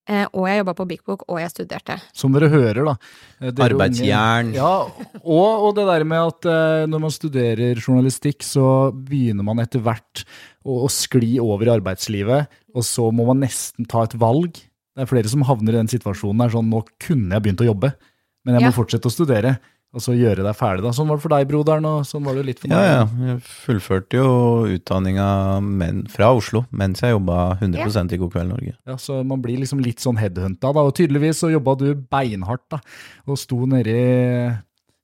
Speaker 3: eh, og jeg jobba på Big Book, og jeg studerte.
Speaker 1: Som dere hører, da. Eh, dere unge-
Speaker 2: Arbeidsjern.
Speaker 1: Ja, og, og det der med at eh, når man studerer journalistikk, så begynner man etter hvert å, å skli over i arbeidslivet, og så må man nesten ta et valg. Det er flere som havner i den situasjonen der, sånn nå kunne jeg begynt å jobbe, men jeg må fortsette å studere, og så gjøre deg ferdig da. Sånn var det for deg, broderen, og sånn var det jo litt for
Speaker 2: Ja,
Speaker 1: meg.
Speaker 2: ja. Jeg fullførte jo utdanninga men- fra Oslo mens jeg jobba 100 i God kveld Norge.
Speaker 1: Ja, så man blir liksom litt sånn headhunta, da. Og tydeligvis så jobba du beinhardt, da. Og sto nede i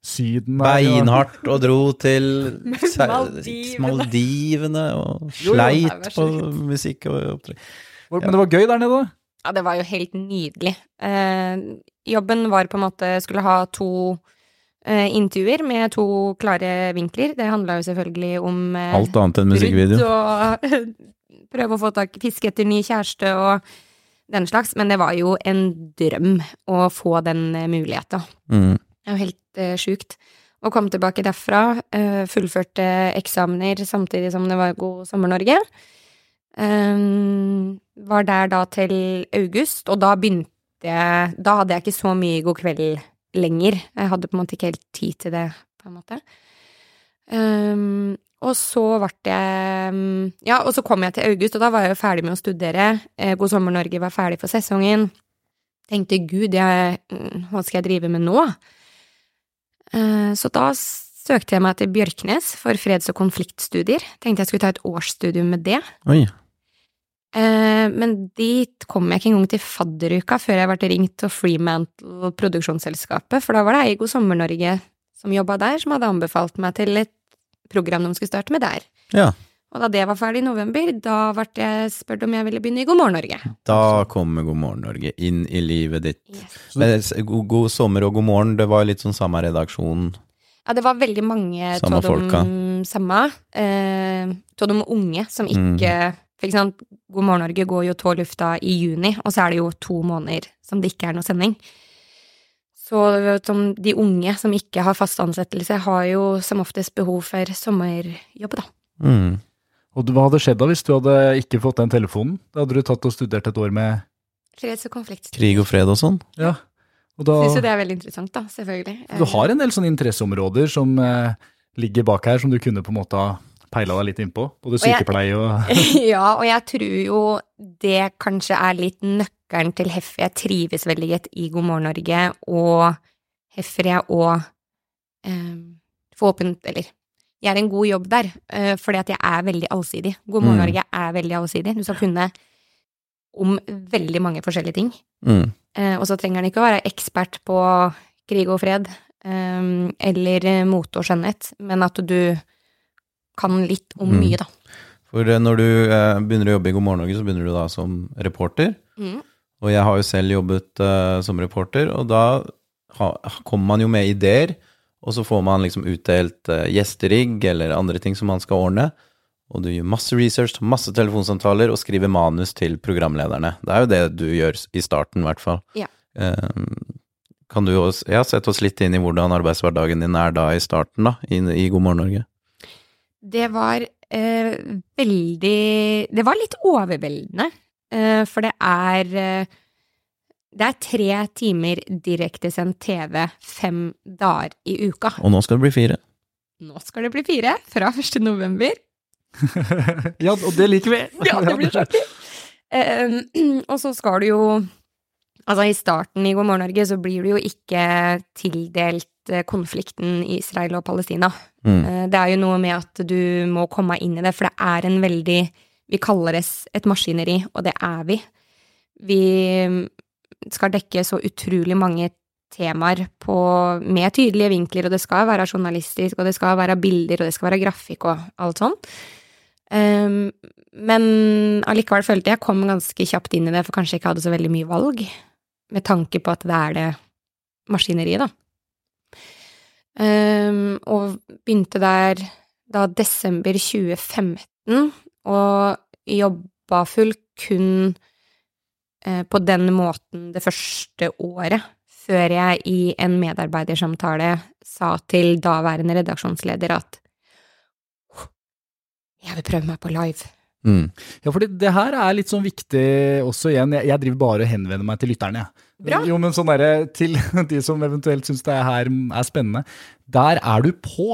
Speaker 1: Syden der, og-
Speaker 2: Beinhardt og dro til se-
Speaker 3: Maldivene.
Speaker 2: Maldivene og
Speaker 1: Jo, jo,
Speaker 3: nei, vær
Speaker 2: sleit
Speaker 3: så
Speaker 2: på
Speaker 3: snill.
Speaker 2: musikk og opptrykk.
Speaker 1: Hvor- Men det var gøy der nede, da.
Speaker 3: Ja, det var jo helt nydelig. Eh, jobben var på en måte Skulle ha to eh, intervjuer med to klare vinkler. Det handla jo selvfølgelig om eh,
Speaker 2: Alt annet enn
Speaker 3: brudd
Speaker 2: musikkvideo.
Speaker 3: og prøve å få tak fiske etter ny kjæreste og den slags. Men det var jo en drøm å få den eh, muligheten.
Speaker 2: Mm.
Speaker 3: Det er jo helt uh, sjukt. Og kom tilbake derfra, eh, fullførte eksamener samtidig som det var god sommer-Norge. Ehm, var der da til august, og da begynte jeg Da hadde jeg ikke så mye God kveld lenger. Jeg hadde på en måte ikke helt tid til det, på en måte. Ehm, og så ble jeg mm, Ja, og så kom jeg til august, og da var jeg jo ferdig med å studere. Eh, God sommer Norge var ferdig for sesongen. Tenkte gud, jeg, mm, hva skal jeg drive med nå? Eh, Så da søkte jeg meg til Bjørknes for freds- og konfliktstudier. Tenkte jeg skulle ta et årsstudium med det.
Speaker 2: Oi.
Speaker 3: Eh, Men dit kom jeg ikke engang til fadderuka før jeg ble ringt av Freemantle produksjonsselskapet, for da var det ei God sommer-Norge som jobba der, som hadde anbefalt meg til et program de skulle starte med der.
Speaker 2: Ja.
Speaker 3: Og da det var ferdig i november, da ble jeg spurt om jeg ville begynne i God morgen Norge.
Speaker 2: Da kommer God morgen Norge inn i livet ditt. Mm.
Speaker 3: Yes.
Speaker 2: Men s- god, god sommer og god morgen, det var litt sånn samme redaksjon.
Speaker 3: Ja, det var veldig mange
Speaker 2: Samme
Speaker 3: av
Speaker 2: folka.
Speaker 3: de samme. Eh, av de unge som
Speaker 2: Mm.
Speaker 3: ikke For eksempel, God morgen Norge går jo tå lufta i juni, og så er det jo to måneder som det ikke er noe sending. Så du vet, som de unge som ikke har fast ansettelse, har jo som oftest behov for sommerjobb, da.
Speaker 2: Mm.
Speaker 1: Og du- hva hadde skjedd da hvis du hadde ikke fått den telefonen? Da hadde du tatt og studert et år med
Speaker 3: Freds- og konfliktstid.
Speaker 2: Krig og fred og sånn.
Speaker 1: Ja. Og da,
Speaker 3: Syns jo det er veldig interessant, da, selvfølgelig.
Speaker 1: du har en del sånne interesseområder som eh, ligger bak her, som du kunne på en måte ha peila deg litt innpå. Både
Speaker 3: jeg-
Speaker 1: sykepleie og
Speaker 3: ja, og jeg tror jo det kanskje er litt nøkkelen til hvorfor jeg trives veldig godt i God morgen Norge, og hvorfor jeg òg eh, forhåpent, eller gjør en god jobb der, eh, fordi at jeg er veldig allsidig. God morgen
Speaker 2: Mm.
Speaker 3: Norge er veldig allsidig. Du skal kunne om veldig mange forskjellige ting.
Speaker 2: Mm.
Speaker 3: Eh, og så trenger han ikke å være ekspert på krig og fred eh, eller eh, mote og skjønnhet, men at du kan litt om
Speaker 2: Mm.
Speaker 3: mye, da.
Speaker 2: For eh, når du eh, begynner å jobbe i God morgen Norge, så begynner du da som reporter.
Speaker 3: Mm.
Speaker 2: Og jeg har jo selv jobbet eh, som reporter, og da ha, kommer man jo med ideer, og så får man liksom utdelt eh, gjesterigg eller andre ting som man skal ordne. Og du gjør masse research, masse telefonsamtaler og skriver manus til programlederne. Det er jo det du gjør s- i starten, i hvert fall.
Speaker 3: Ja.
Speaker 2: Eh, kan du også, jeg har sett oss litt inn i hvordan arbeidshverdagen din er da i starten, da, i, i God morgen Norge.
Speaker 3: Det var eh, veldig Det var litt overveldende, eh, for det er eh, Det er tre timer direktesendt TV fem dager i uka.
Speaker 2: Og nå skal det bli fire.
Speaker 3: Nå skal det bli fire, fra 1. november.
Speaker 1: Ja, og det liker vi!
Speaker 3: Ja, det blir så artig. Eh, og så skal du jo Altså, i starten i God morgen Norge så blir du jo ikke tildelt eh, konflikten i Israel og Palestina.
Speaker 2: Mm.
Speaker 3: Eh, Det er jo noe med at du må komme inn i det, for det er en veldig Vi kaller det s- et maskineri, og det er vi. Vi mm, skal dekke så utrolig mange temaer på, med tydelige vinkler, og det skal være journalistisk, og det skal være bilder, og det skal være grafikk og alt sånt. Um, men allikevel følte jeg kom ganske kjapt inn i det, for kanskje jeg ikke hadde så veldig mye valg, med tanke på at det er det maskineriet, da. Um, og begynte der da desember 2015, og jobba full kun eh, på den måten det første året, før jeg i en medarbeidersamtale sa til daværende redaksjonsleder at «Åh, jeg vil prøve meg på live.
Speaker 2: Mm.
Speaker 1: Ja, fordi det her er litt sånn viktig også igjen. Jeg, jeg driver bare og henvender meg til lytterne, jeg.
Speaker 3: Bra.
Speaker 1: Jo, men sånn derre til de som eventuelt syns det her er spennende. Der er du på!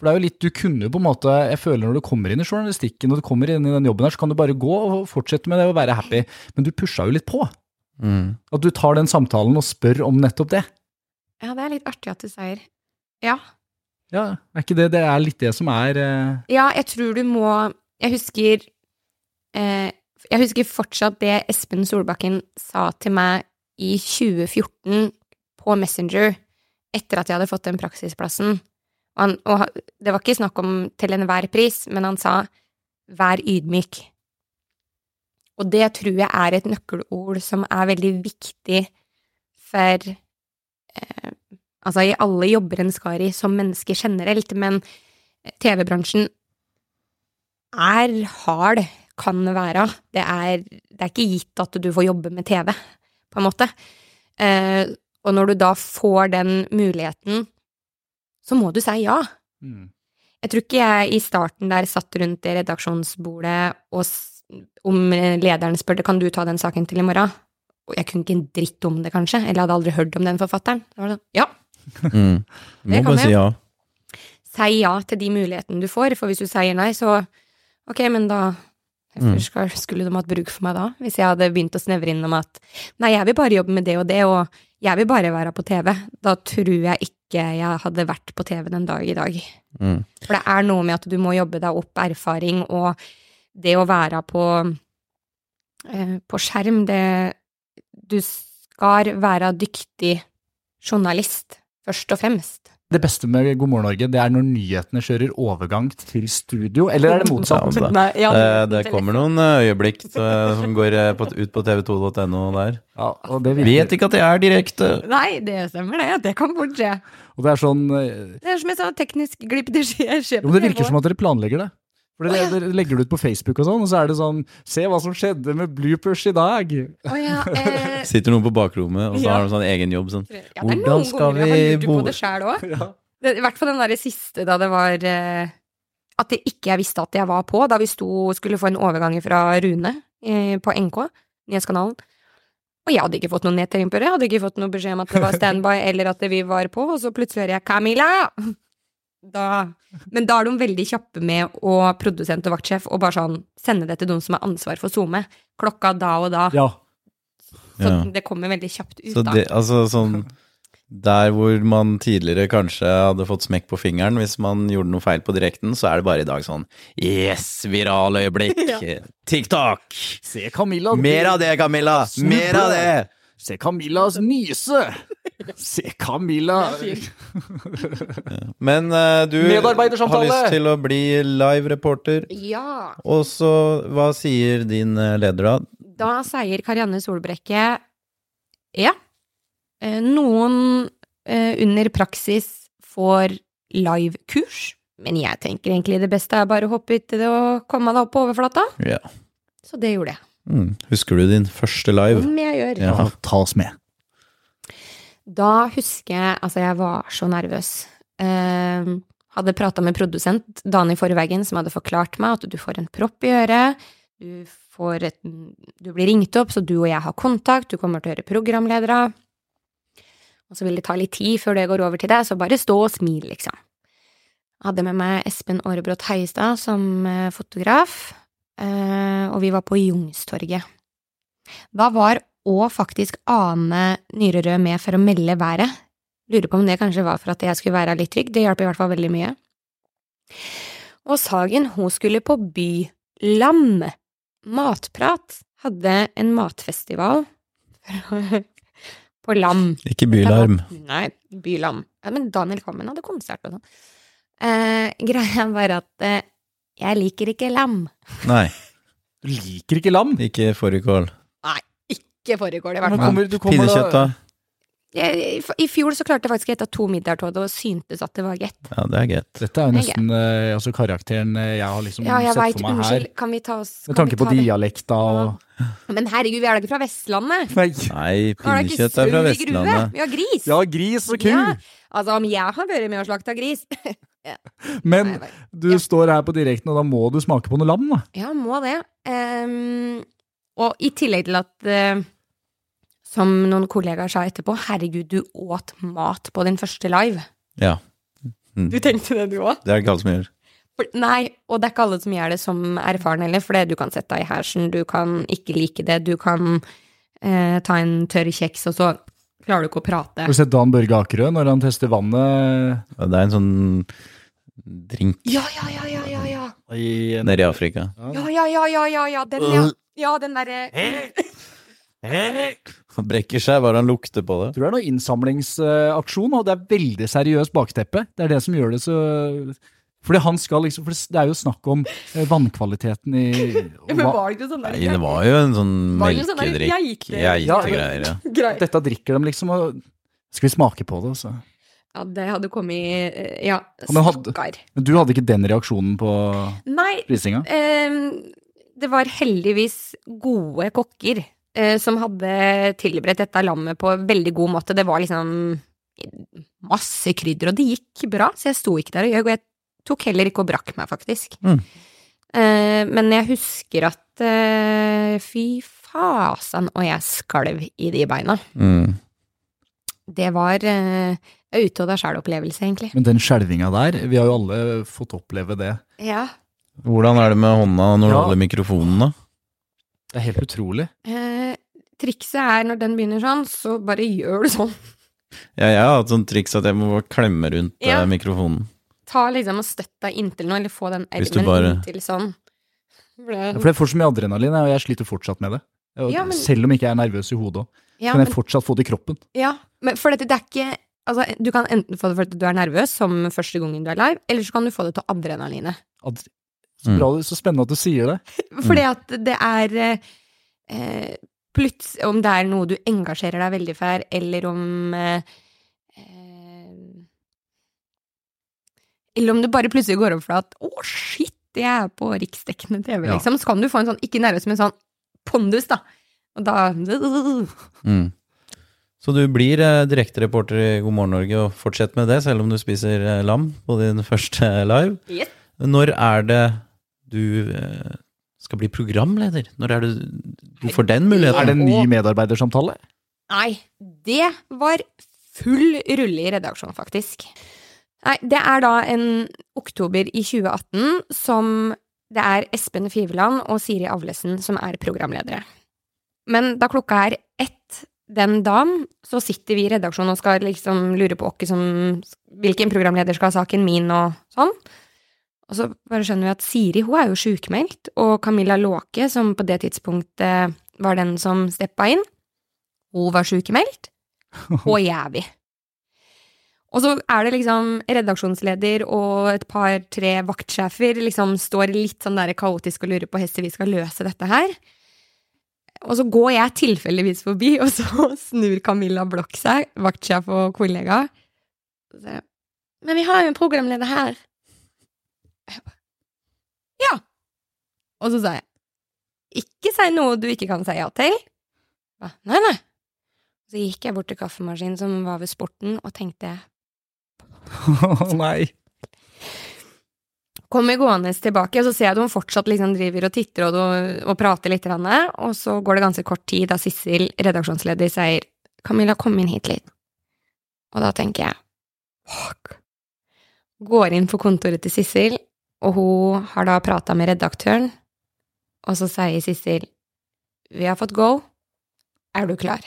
Speaker 1: For det er jo litt, du kunne jo på en måte, jeg føler når du kommer inn i journalistikken og du kommer inn i den jobben her, så kan du bare gå og fortsette med det og være happy. Men du pusha jo litt på.
Speaker 2: Mm.
Speaker 1: At du tar den samtalen og spør om nettopp det.
Speaker 3: Ja, det er litt artig at du sier. Ja.
Speaker 1: Ja, er ikke det, det er litt det som er eh,
Speaker 3: Ja, jeg tror du må Jeg husker eh, Jeg husker fortsatt det Espen Solbakken sa til meg i 2014 på Messenger etter at jeg hadde fått den praksisplassen. Og, han, og ha- det var ikke snakk om til enhver pris, men han sa 'vær ydmyk'. Og det tror jeg er et nøkkelord som er veldig viktig for eh, Altså, i alle jobber en skal i, som menneske generelt, men eh, TV-bransjen er hard, kan være. Det er, det er ikke gitt at du får jobbe med TV, på en måte. Eh, og når du da får den muligheten, så må du si ja.
Speaker 1: mm.
Speaker 3: Jeg tror ikke jeg i starten der satt rundt det redaksjonsbordet og s- om lederen spurte kan du ta den saken til i morgen. Og jeg kunne ikke en dritt om det, kanskje, eller hadde aldri hørt om den forfatteren. Da var det sånn, ja,
Speaker 2: Mm.
Speaker 3: Det
Speaker 2: Må
Speaker 3: kan
Speaker 2: bare si
Speaker 3: jeg.
Speaker 2: ja.
Speaker 3: si ja til de mulighetene du får, for hvis du sier nei, så ok, men da
Speaker 2: Mm.
Speaker 3: Hvorfor skal- skulle de hatt bruk for meg da, hvis jeg hadde begynt å snevre inn om at nei, jeg vil bare jobbe med det og det, og jeg vil bare være på TV, da tror jeg ikke jeg hadde vært på TV den dag i dag.
Speaker 2: Mm.
Speaker 3: For det er noe med at du må jobbe deg opp erfaring, og det å være på, eh, på skjerm, det Du skal være dyktig journalist, først og fremst.
Speaker 1: Det beste med God morgen Norge, det er når nyhetene kjører overgang til studio, eller er det motsatt?
Speaker 2: Ja, det-
Speaker 3: Nei, ja,
Speaker 2: Eh, det
Speaker 3: veldig-
Speaker 2: kommer noen eh, øyeblikk eh, som går eh, på, ut på tv2.no der.
Speaker 1: Ja, og det virker.
Speaker 2: Vet ikke at jeg er direkte!
Speaker 3: Nei, det stemmer det. Det kan fort skje.
Speaker 1: Og det er sånn eh,
Speaker 3: Det er som et sånt teknisk glipp. Det skjer, skjer
Speaker 1: Jo, men det virker som at dere planlegger det. For det, det legger du ut på Facebook, og sånn, og så er det sånn Se hva som skjedde med bloopers i dag!
Speaker 3: Å ja, eh,
Speaker 2: Sitter noen på bakrommet, og så
Speaker 3: Ja.
Speaker 2: har de sånn egen jobb sånn.
Speaker 3: ja, det er noen
Speaker 2: Hvordan skal
Speaker 3: ganger jeg har
Speaker 2: vi
Speaker 3: lurt på
Speaker 2: bo-
Speaker 3: det sjøl òg.
Speaker 1: Ja.
Speaker 3: Det- I hvert fall den derre siste da det var eh, At det ikke jeg visste at jeg var på, da vi sto, skulle få en overgang fra Rune eh, på NK, nyhetskanalen. Og jeg hadde ikke fått noen nedtrimper, jeg hadde ikke fått noen beskjed om at det var standby eller at vi var på, og så plutselig hører jeg 'Camilla!' Da. Men da er de veldig kjappe med å produsent og vaktsjef og bare sånn sende det til de som har ansvar for SoMe. Klokka da og da.
Speaker 1: ja.
Speaker 3: Så
Speaker 2: Ja.
Speaker 3: det kommer veldig kjapt ut,
Speaker 2: Så
Speaker 3: da.
Speaker 2: det, altså sånn Der hvor man tidligere kanskje hadde fått smekk på fingeren hvis man gjorde noe feil på direkten, så er det bare i dag sånn Yes, viral øyeblikk! TikTok!
Speaker 1: Se Camilla
Speaker 2: Mer av det, Camilla! Mer av det!
Speaker 1: Se Camillas nyse! Se Camilla
Speaker 2: Men eh, du har
Speaker 1: Medarbeidersamtale!
Speaker 2: lyst til å bli live-reporter.
Speaker 3: Ja.
Speaker 2: Og så, hva sier din eh, leder da?
Speaker 3: Da sier Karianne Solbrekke ja. Eh, Noen eh, under praksis får live-kurs, men jeg tenker egentlig det beste er bare å hoppe uti det og komme deg opp på overflata.
Speaker 2: Ja.
Speaker 3: Så det gjorde jeg.
Speaker 2: Mm. Husker du din første live?
Speaker 3: Om jeg gjør.
Speaker 2: Ja.
Speaker 1: Ja, ta oss med.
Speaker 3: Da husker jeg Altså, jeg var så nervøs. Eh, hadde prata med produsent Dani Forveggen, som hadde forklart meg at du får en propp i øret. Du, får et, du blir ringt opp, så du og jeg har kontakt. Du kommer til å høre programledere. Og så vil det ta litt tid før det går over til deg, så bare stå og smil, liksom. Jeg hadde med meg Espen Aarebrot Heiestad som eh, fotograf, eh, og vi var på Jungstorget. Da var òg faktisk Ane Nyrerød med for å melde været. Lurer på om det kanskje var for at jeg skulle være litt trygg, det hjalp i hvert fall veldig mye. Og Sagen, hun skulle på Bylam. Matprat hadde en matfestival på Lam.
Speaker 2: Ikke bylarm.
Speaker 3: Nei, Bylam. Ja, men Daniel Kammen hadde konsert og sånn. Eh, greia var at eh, jeg liker ikke lam.
Speaker 2: Nei,
Speaker 1: Du liker ikke lam?
Speaker 2: ikke fårikål.
Speaker 3: Ikke foregår det, i
Speaker 1: Men
Speaker 3: hvert fall.
Speaker 1: kommer, du kommer
Speaker 2: Pinnekjøtt,
Speaker 1: da
Speaker 2: da?
Speaker 3: Jeg, i, f- I fjor så klarte jeg faktisk å ete to middager av det og syntes at det var gett.
Speaker 2: Ja, det er greit.
Speaker 1: Dette er jo nesten eh, altså karakteren eh, jeg har liksom
Speaker 3: Ja, jeg
Speaker 1: sett
Speaker 3: veit.
Speaker 1: for meg her.
Speaker 3: Unnskyld. Kan vi ta oss
Speaker 1: Med
Speaker 3: kan vi
Speaker 1: tanke på
Speaker 3: ta det?
Speaker 1: dialekta og
Speaker 3: Men herregud, vi er da ikke fra Vestlandet?
Speaker 1: Nei.
Speaker 2: Nei,
Speaker 3: Er det ikke
Speaker 2: pinnekjøtt er fra
Speaker 3: sau i grue?
Speaker 2: Vestlandet.
Speaker 3: Vi har gris.
Speaker 1: Ja, gris og ku,
Speaker 3: Ja, altså, om jeg har vært med og slakta gris
Speaker 1: men
Speaker 3: Nei, jeg vet.
Speaker 1: du står her på direkten, og da må du smake på noe lam, da.
Speaker 3: Ja, må det. Ehm, og i tillegg til at eh, som noen kollegaer sa etterpå, herregud, du åt mat på din første live.
Speaker 2: Ja. Mm.
Speaker 3: Du tenkte det, du òg?
Speaker 2: Det er det ikke alle som gjør.
Speaker 3: Nei, og det er ikke alle som gjør det som erfaren heller, for det du kan sette deg i hersen, du kan ikke like det, du kan eh, ta en tørr kjeks, og så klarer du ikke å prate.
Speaker 1: Har du sett Dan Børge Akerø når han tester vannet
Speaker 2: Ja, Det er en sånn drink
Speaker 3: Ja, ja, ja, ja, ja, ja.
Speaker 1: i en
Speaker 2: nede i Afrika.
Speaker 3: Ja, ja, ja, ja, ja, ja, den, ja.
Speaker 2: Øh.
Speaker 3: Ja, den derre
Speaker 2: Han brekker seg bare han lukter på det.
Speaker 1: tror det er noe innsamlingsaksjon, og det er veldig seriøst bakteppe. Det er det som gjør det så Fordi han skal liksom For det er jo snakk om eh, vannkvaliteten i og
Speaker 3: Men
Speaker 1: hva-
Speaker 3: var det ikke sånn der?
Speaker 2: Nei, det var jo en sånn
Speaker 3: Var det en sånn der
Speaker 2: melkedrikk.
Speaker 3: geite-
Speaker 2: Geitegreier, ja.
Speaker 3: Greit.
Speaker 1: Dette drikker de liksom, og skal vi smake på det? altså? Så.
Speaker 3: Ja, det hadde kommet eh, Ja,
Speaker 1: men hadde-
Speaker 3: stakkar.
Speaker 1: Men du hadde ikke den reaksjonen på
Speaker 3: Nei,
Speaker 1: prisinga?
Speaker 3: ehm, det var heldigvis gode kokker eh, som hadde tilberedt dette lammet på en veldig god måte. Det var liksom masse krydder, og det gikk bra, så jeg sto ikke der og gjøg. Og jeg tok heller ikke og brakk meg, faktisk.
Speaker 2: Mm.
Speaker 3: Eh, men jeg husker at eh, fy fasan, og jeg skalv i de beina.
Speaker 2: Mm.
Speaker 3: Det var eh, ute og deg sjæl-opplevelse, egentlig.
Speaker 1: Men den skjelvinga der, vi har jo alle fått oppleve det.
Speaker 3: Ja.
Speaker 2: Hvordan er det med hånda når du
Speaker 1: Ja.
Speaker 2: holder mikrofonen, da?
Speaker 1: Det er helt utrolig.
Speaker 3: Eh, trikset er når den begynner sånn, så bare gjør du sånn.
Speaker 2: Ja, jeg har hatt sånn triks at jeg må bare klemme rundt eh,
Speaker 3: Ja.
Speaker 2: mikrofonen.
Speaker 3: Ta liksom og støtt deg inntil noe, eller få den
Speaker 2: Hvis du
Speaker 3: ermen
Speaker 2: bare-
Speaker 3: inntil sånn. For
Speaker 1: Ja,
Speaker 3: det-
Speaker 1: For jeg får så mye adrenalin, og jeg sliter fortsatt med det. Og
Speaker 3: Ja, men-
Speaker 1: Selv om ikke jeg er nervøs i hodet òg,
Speaker 3: Ja,
Speaker 1: kan
Speaker 3: men,
Speaker 1: jeg fortsatt få det i kroppen.
Speaker 3: ja, men for dette, det er ikke Altså, du kan enten få det fordi du er nervøs, som første gangen du er live, eller så kan du få det til adrenalinet.
Speaker 1: Ad-
Speaker 2: Mm.
Speaker 1: Så, bra, så spennende at du sier det.
Speaker 3: Fordi at det er eh, eh, Plutselig, om det er noe du engasjerer deg veldig for, eller om eh, eh, Eller om det bare plutselig går opp for deg at 'å, shit, det er på riksdekkende TV,
Speaker 1: Ja.
Speaker 3: liksom. Så kan du få en sånn, ikke nervøs, men sånn pondus, da. Og da
Speaker 2: Mm. Så du blir eh, direktereporter i God morgen Norge og fortsett med det, selv om du spiser eh, lam på din første live.
Speaker 3: Yes.
Speaker 2: Når er det du eh, skal bli programleder? Når er det du får den
Speaker 1: Er
Speaker 2: muligheten?
Speaker 1: det en ny medarbeidersamtale?
Speaker 3: Nei, det var full rulle i redaksjonen, faktisk. Nei, det er da en oktober i 2018 som det er Espen Fiveland og Siri Avlesen som er programledere. Men da klokka er ett den dagen, så sitter vi i redaksjonen og skal liksom lure på åkke som, hvilken programleder skal ha saken min og sånn. Og så bare skjønner vi at Siri hun er jo sjukmeldt, og Camilla Låke, som på det tidspunktet var den som steppa inn, hun var sykemeldt, og jævlig. Og så er det liksom redaksjonsleder og et par-tre vaktsjefer liksom står litt sånn der kaotisk og lurer på hvordan vi skal løse dette her. Og så går jeg tilfeldigvis forbi, og så snur Camilla Blokk seg, vaktsjef og kollega. Og så sier jeg, Men vi har jo en programleder her. Jeg ba, Ja. Og så sa jeg, ikke si noe du ikke kan si ja til. Jeg ba, Nei, nei. Så gikk jeg bort til kaffemaskinen som var ved sporten, og tenkte
Speaker 1: Å, Nei.
Speaker 3: Kommer gående tilbake, og så ser jeg at hun fortsatt liksom driver og titter og, og prater litt. grann, Og så går det ganske kort tid da Sissel, redaksjonsleder, sier Camilla, kom inn hit litt. Og da tenker jeg fuck. Går inn på kontoret til Sissel, og hun har da prata med redaktøren. Og så sier Sissel, vi har fått go. Er du klar?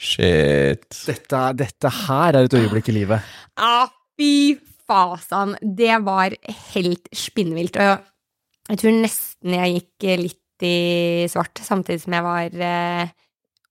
Speaker 2: Shit.
Speaker 1: Dette, er- dette her er et øyeblikk i livet.
Speaker 3: Ja, fy fasan. Det var helt spinnvilt. Og jeg tror nesten jeg gikk litt i svart, samtidig som jeg var eh,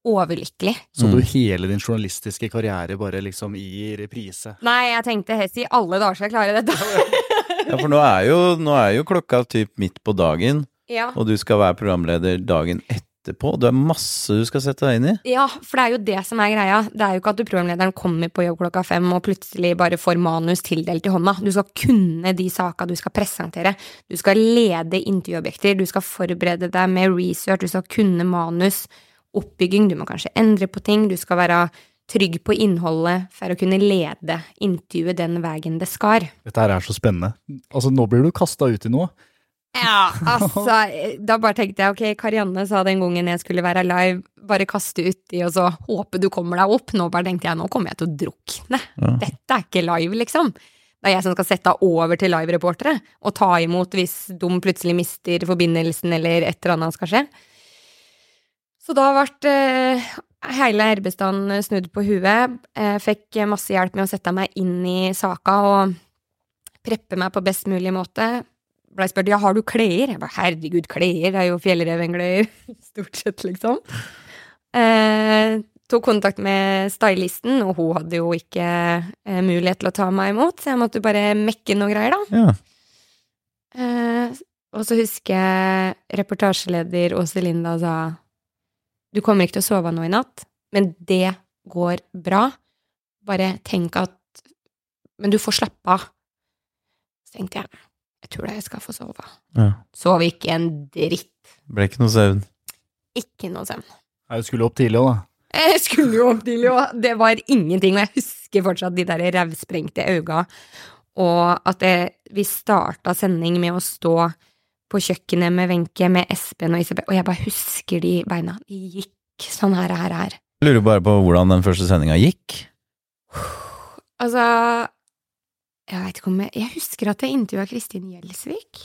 Speaker 3: overlykkelig.
Speaker 1: Så
Speaker 2: Mm.
Speaker 1: du hele din journalistiske karriere bare liksom i reprise.
Speaker 3: Nei, jeg tenkte Hess, i alle dager skal jeg klare dette.
Speaker 2: Ja, for nå er jo, nå er jo klokka typ midt på dagen,
Speaker 3: ja.
Speaker 2: og du skal være programleder dagen etterpå. Det er masse du skal sette deg inn i.
Speaker 3: ja, for det er jo det som er greia. Det er jo ikke at du programlederen kommer på jobb klokka fem og plutselig bare får manus tildelt i hånda. Du skal kunne de saka du skal presentere. Du skal lede intervjuobjekter, du skal forberede deg med research, du skal kunne manus, oppbygging, du må kanskje endre på ting, du skal være trygg på innholdet for å kunne lede intervjuet den veien det skar.
Speaker 1: Dette her er så spennende. Altså, nå blir du kasta ut i noe.
Speaker 3: Ja, altså, da bare tenkte jeg, ok, Karianne sa den gangen jeg skulle være live, bare kaste uti og så håpe du kommer deg opp. Nå bare tenkte jeg, nå kommer jeg til å drukne.
Speaker 2: Ja.
Speaker 3: Dette er ikke live, liksom. Det er jeg som skal sette av over til live-reportere og ta imot hvis de plutselig mister forbindelsen eller et eller annet skal skje. Så da ble eh, hele arbeidsdagen snudd på huet. Jeg fikk masse hjelp med å sette meg inn i saka og preppe meg på best mulig måte. Blei spurt ja, har du klær? Jeg bare herregud, klær er jo fjellrevengløyer, stort sett, liksom. Eh, tok kontakt med stylisten, og hun hadde jo ikke eh, mulighet til å ta meg imot, så jeg måtte bare mekke noen greier, da.
Speaker 2: Ja.
Speaker 3: Eh, og så husker jeg reportasjeleder Åse Linda sa Du kommer ikke til å sove nå i natt, men det går bra. Bare tenk at Men du får slappe av. Så tenkte jeg jeg tror da jeg skal få sove.
Speaker 2: Ja.
Speaker 3: Sov ikke en dritt.
Speaker 2: Ble ikke noe søvn.
Speaker 3: Ikke noe søvn.
Speaker 1: Jeg skulle opp tidlig òg, da.
Speaker 3: Jeg skulle jo opp tidlig, og det var ingenting. Og jeg husker fortsatt de der revsprengte øynene, og at det, vi starta sending med å stå på kjøkkenet med Wenche, med Espen og Isabel, og jeg bare husker de beina. De gikk sånn her, her, her.
Speaker 2: Lurer bare på hvordan den første sendinga gikk.
Speaker 3: Altså Jeg veit ikke om jeg Jeg husker at jeg intervjua Kristin Gjelsvik.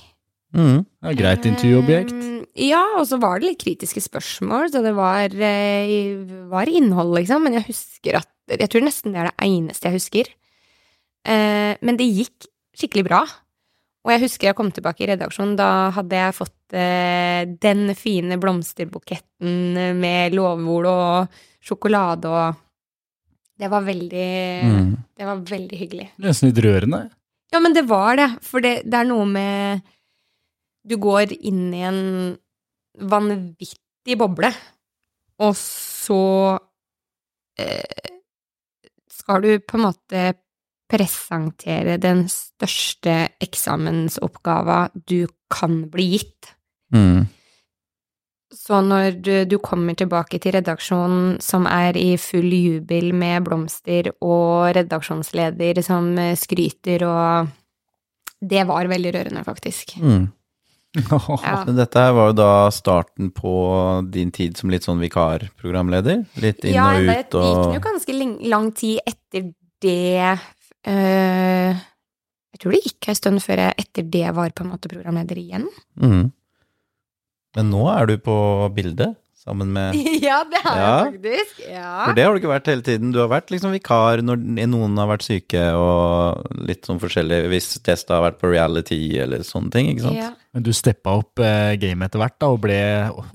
Speaker 2: Mm.
Speaker 1: Det er greit intervjuobjekt.
Speaker 3: Eh, Ja, og så var det litt kritiske spørsmål, så det var, eh, var innhold, liksom. Men jeg husker at Jeg tror nesten det er det eneste jeg husker. Eh, men det gikk skikkelig bra. Og jeg husker jeg kom tilbake i redaksjonen. Da hadde jeg fått eh, den fine blomsterbuketten med lovord og sjokolade og Det var veldig
Speaker 2: Mm.
Speaker 3: Det var veldig hyggelig.
Speaker 1: Nesten litt rørende.
Speaker 3: Ja, men det var det. For det, det er noe med Du går inn i en vanvittig boble, og så eh, skal du på en måte presentere den største eksamensoppgava du kan bli gitt.
Speaker 2: Mm.
Speaker 3: Så når du, du kommer tilbake til redaksjonen som er i full jubel med blomster, og redaksjonsleder som eh, skryter og Det var veldig rørende, faktisk.
Speaker 2: Mm.
Speaker 3: Ja.
Speaker 2: Men dette her var jo da starten på din tid som litt sånn vikarprogramleder? Litt inn
Speaker 3: ja,
Speaker 2: og
Speaker 3: det gikk
Speaker 2: ut og
Speaker 3: jo ganske lang, lang tid etter det eh, Jeg tror det gikk en stund før jeg etter det var på en måte programleder igjen.
Speaker 2: mm. Men nå er du på bildet sammen med
Speaker 3: ja, det er
Speaker 2: Ja.
Speaker 3: jeg faktisk. Ja.
Speaker 2: For det har du ikke vært hele tiden. Du har vært liksom vikar når noen har vært syke og litt sånn forskjellig hvis testa har vært på reality eller sånne ting, ikke sant?
Speaker 3: Ja.
Speaker 1: Men du steppa opp eh, gamet etter hvert da, og ble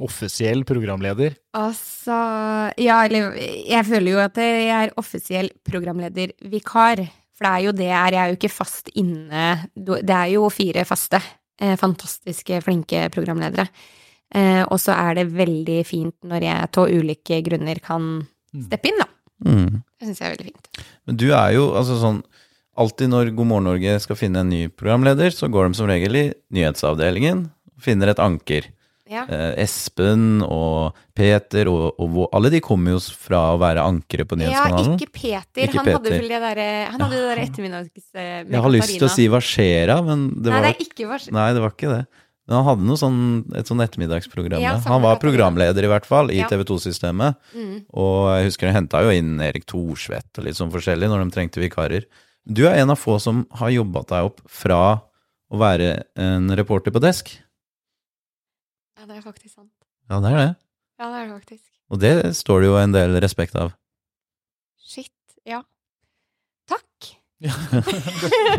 Speaker 1: offisiell programleder.
Speaker 3: Altså Ja, eller jeg føler jo at jeg er offisiell programledervikar. For det er jo det jeg er. Jeg er jo ikke fast inne Du- Det er jo fire faste. eh, Fantastiske, flinke programledere. Eh, Og så er det veldig fint når jeg av ulike grunner kan steppe inn, da.
Speaker 2: Mm.
Speaker 3: Det syns jeg er veldig fint.
Speaker 2: Men du er jo altså sånn Alltid når God morgen Norge skal finne en ny programleder, så går de som regel i nyhetsavdelingen og finner et anker.
Speaker 3: Ja.
Speaker 2: Eh, Espen og Peter og, og hvor- alle de kommer jo fra å være ankere på
Speaker 3: Ja,
Speaker 2: nyhetskanalen.
Speaker 3: ikke Peter.
Speaker 2: Ikke
Speaker 3: han hadde
Speaker 2: Peter.
Speaker 3: vel det derre Han hadde det der ettermiddags... eh, med
Speaker 2: Jeg har lyst til å
Speaker 3: Katarina.
Speaker 2: si hva skjer'a, men det var,
Speaker 3: Nei, det er ikke vars...
Speaker 2: nei, det var ikke det. Men han hadde noe sånn, et sånn ettermiddagsprogram.
Speaker 3: Ja,
Speaker 2: der.
Speaker 3: sammen
Speaker 2: han
Speaker 3: med
Speaker 2: var
Speaker 3: Katarina.
Speaker 2: programleder i hvert fall, i
Speaker 3: Ja.
Speaker 2: TV 2-systemet.
Speaker 3: Mm.
Speaker 2: Og jeg husker jeg henta jo inn Erik Thorsvedt og litt sånn forskjellig når de trengte vikarer. Du er en av få som har jobba deg opp fra å være en reporter på desk.
Speaker 3: Ja, det er faktisk sant.
Speaker 2: Ja, det er det.
Speaker 3: Ja, det er det faktisk.
Speaker 2: Og det står det jo en del respekt av.
Speaker 3: Shit, ja. Takk.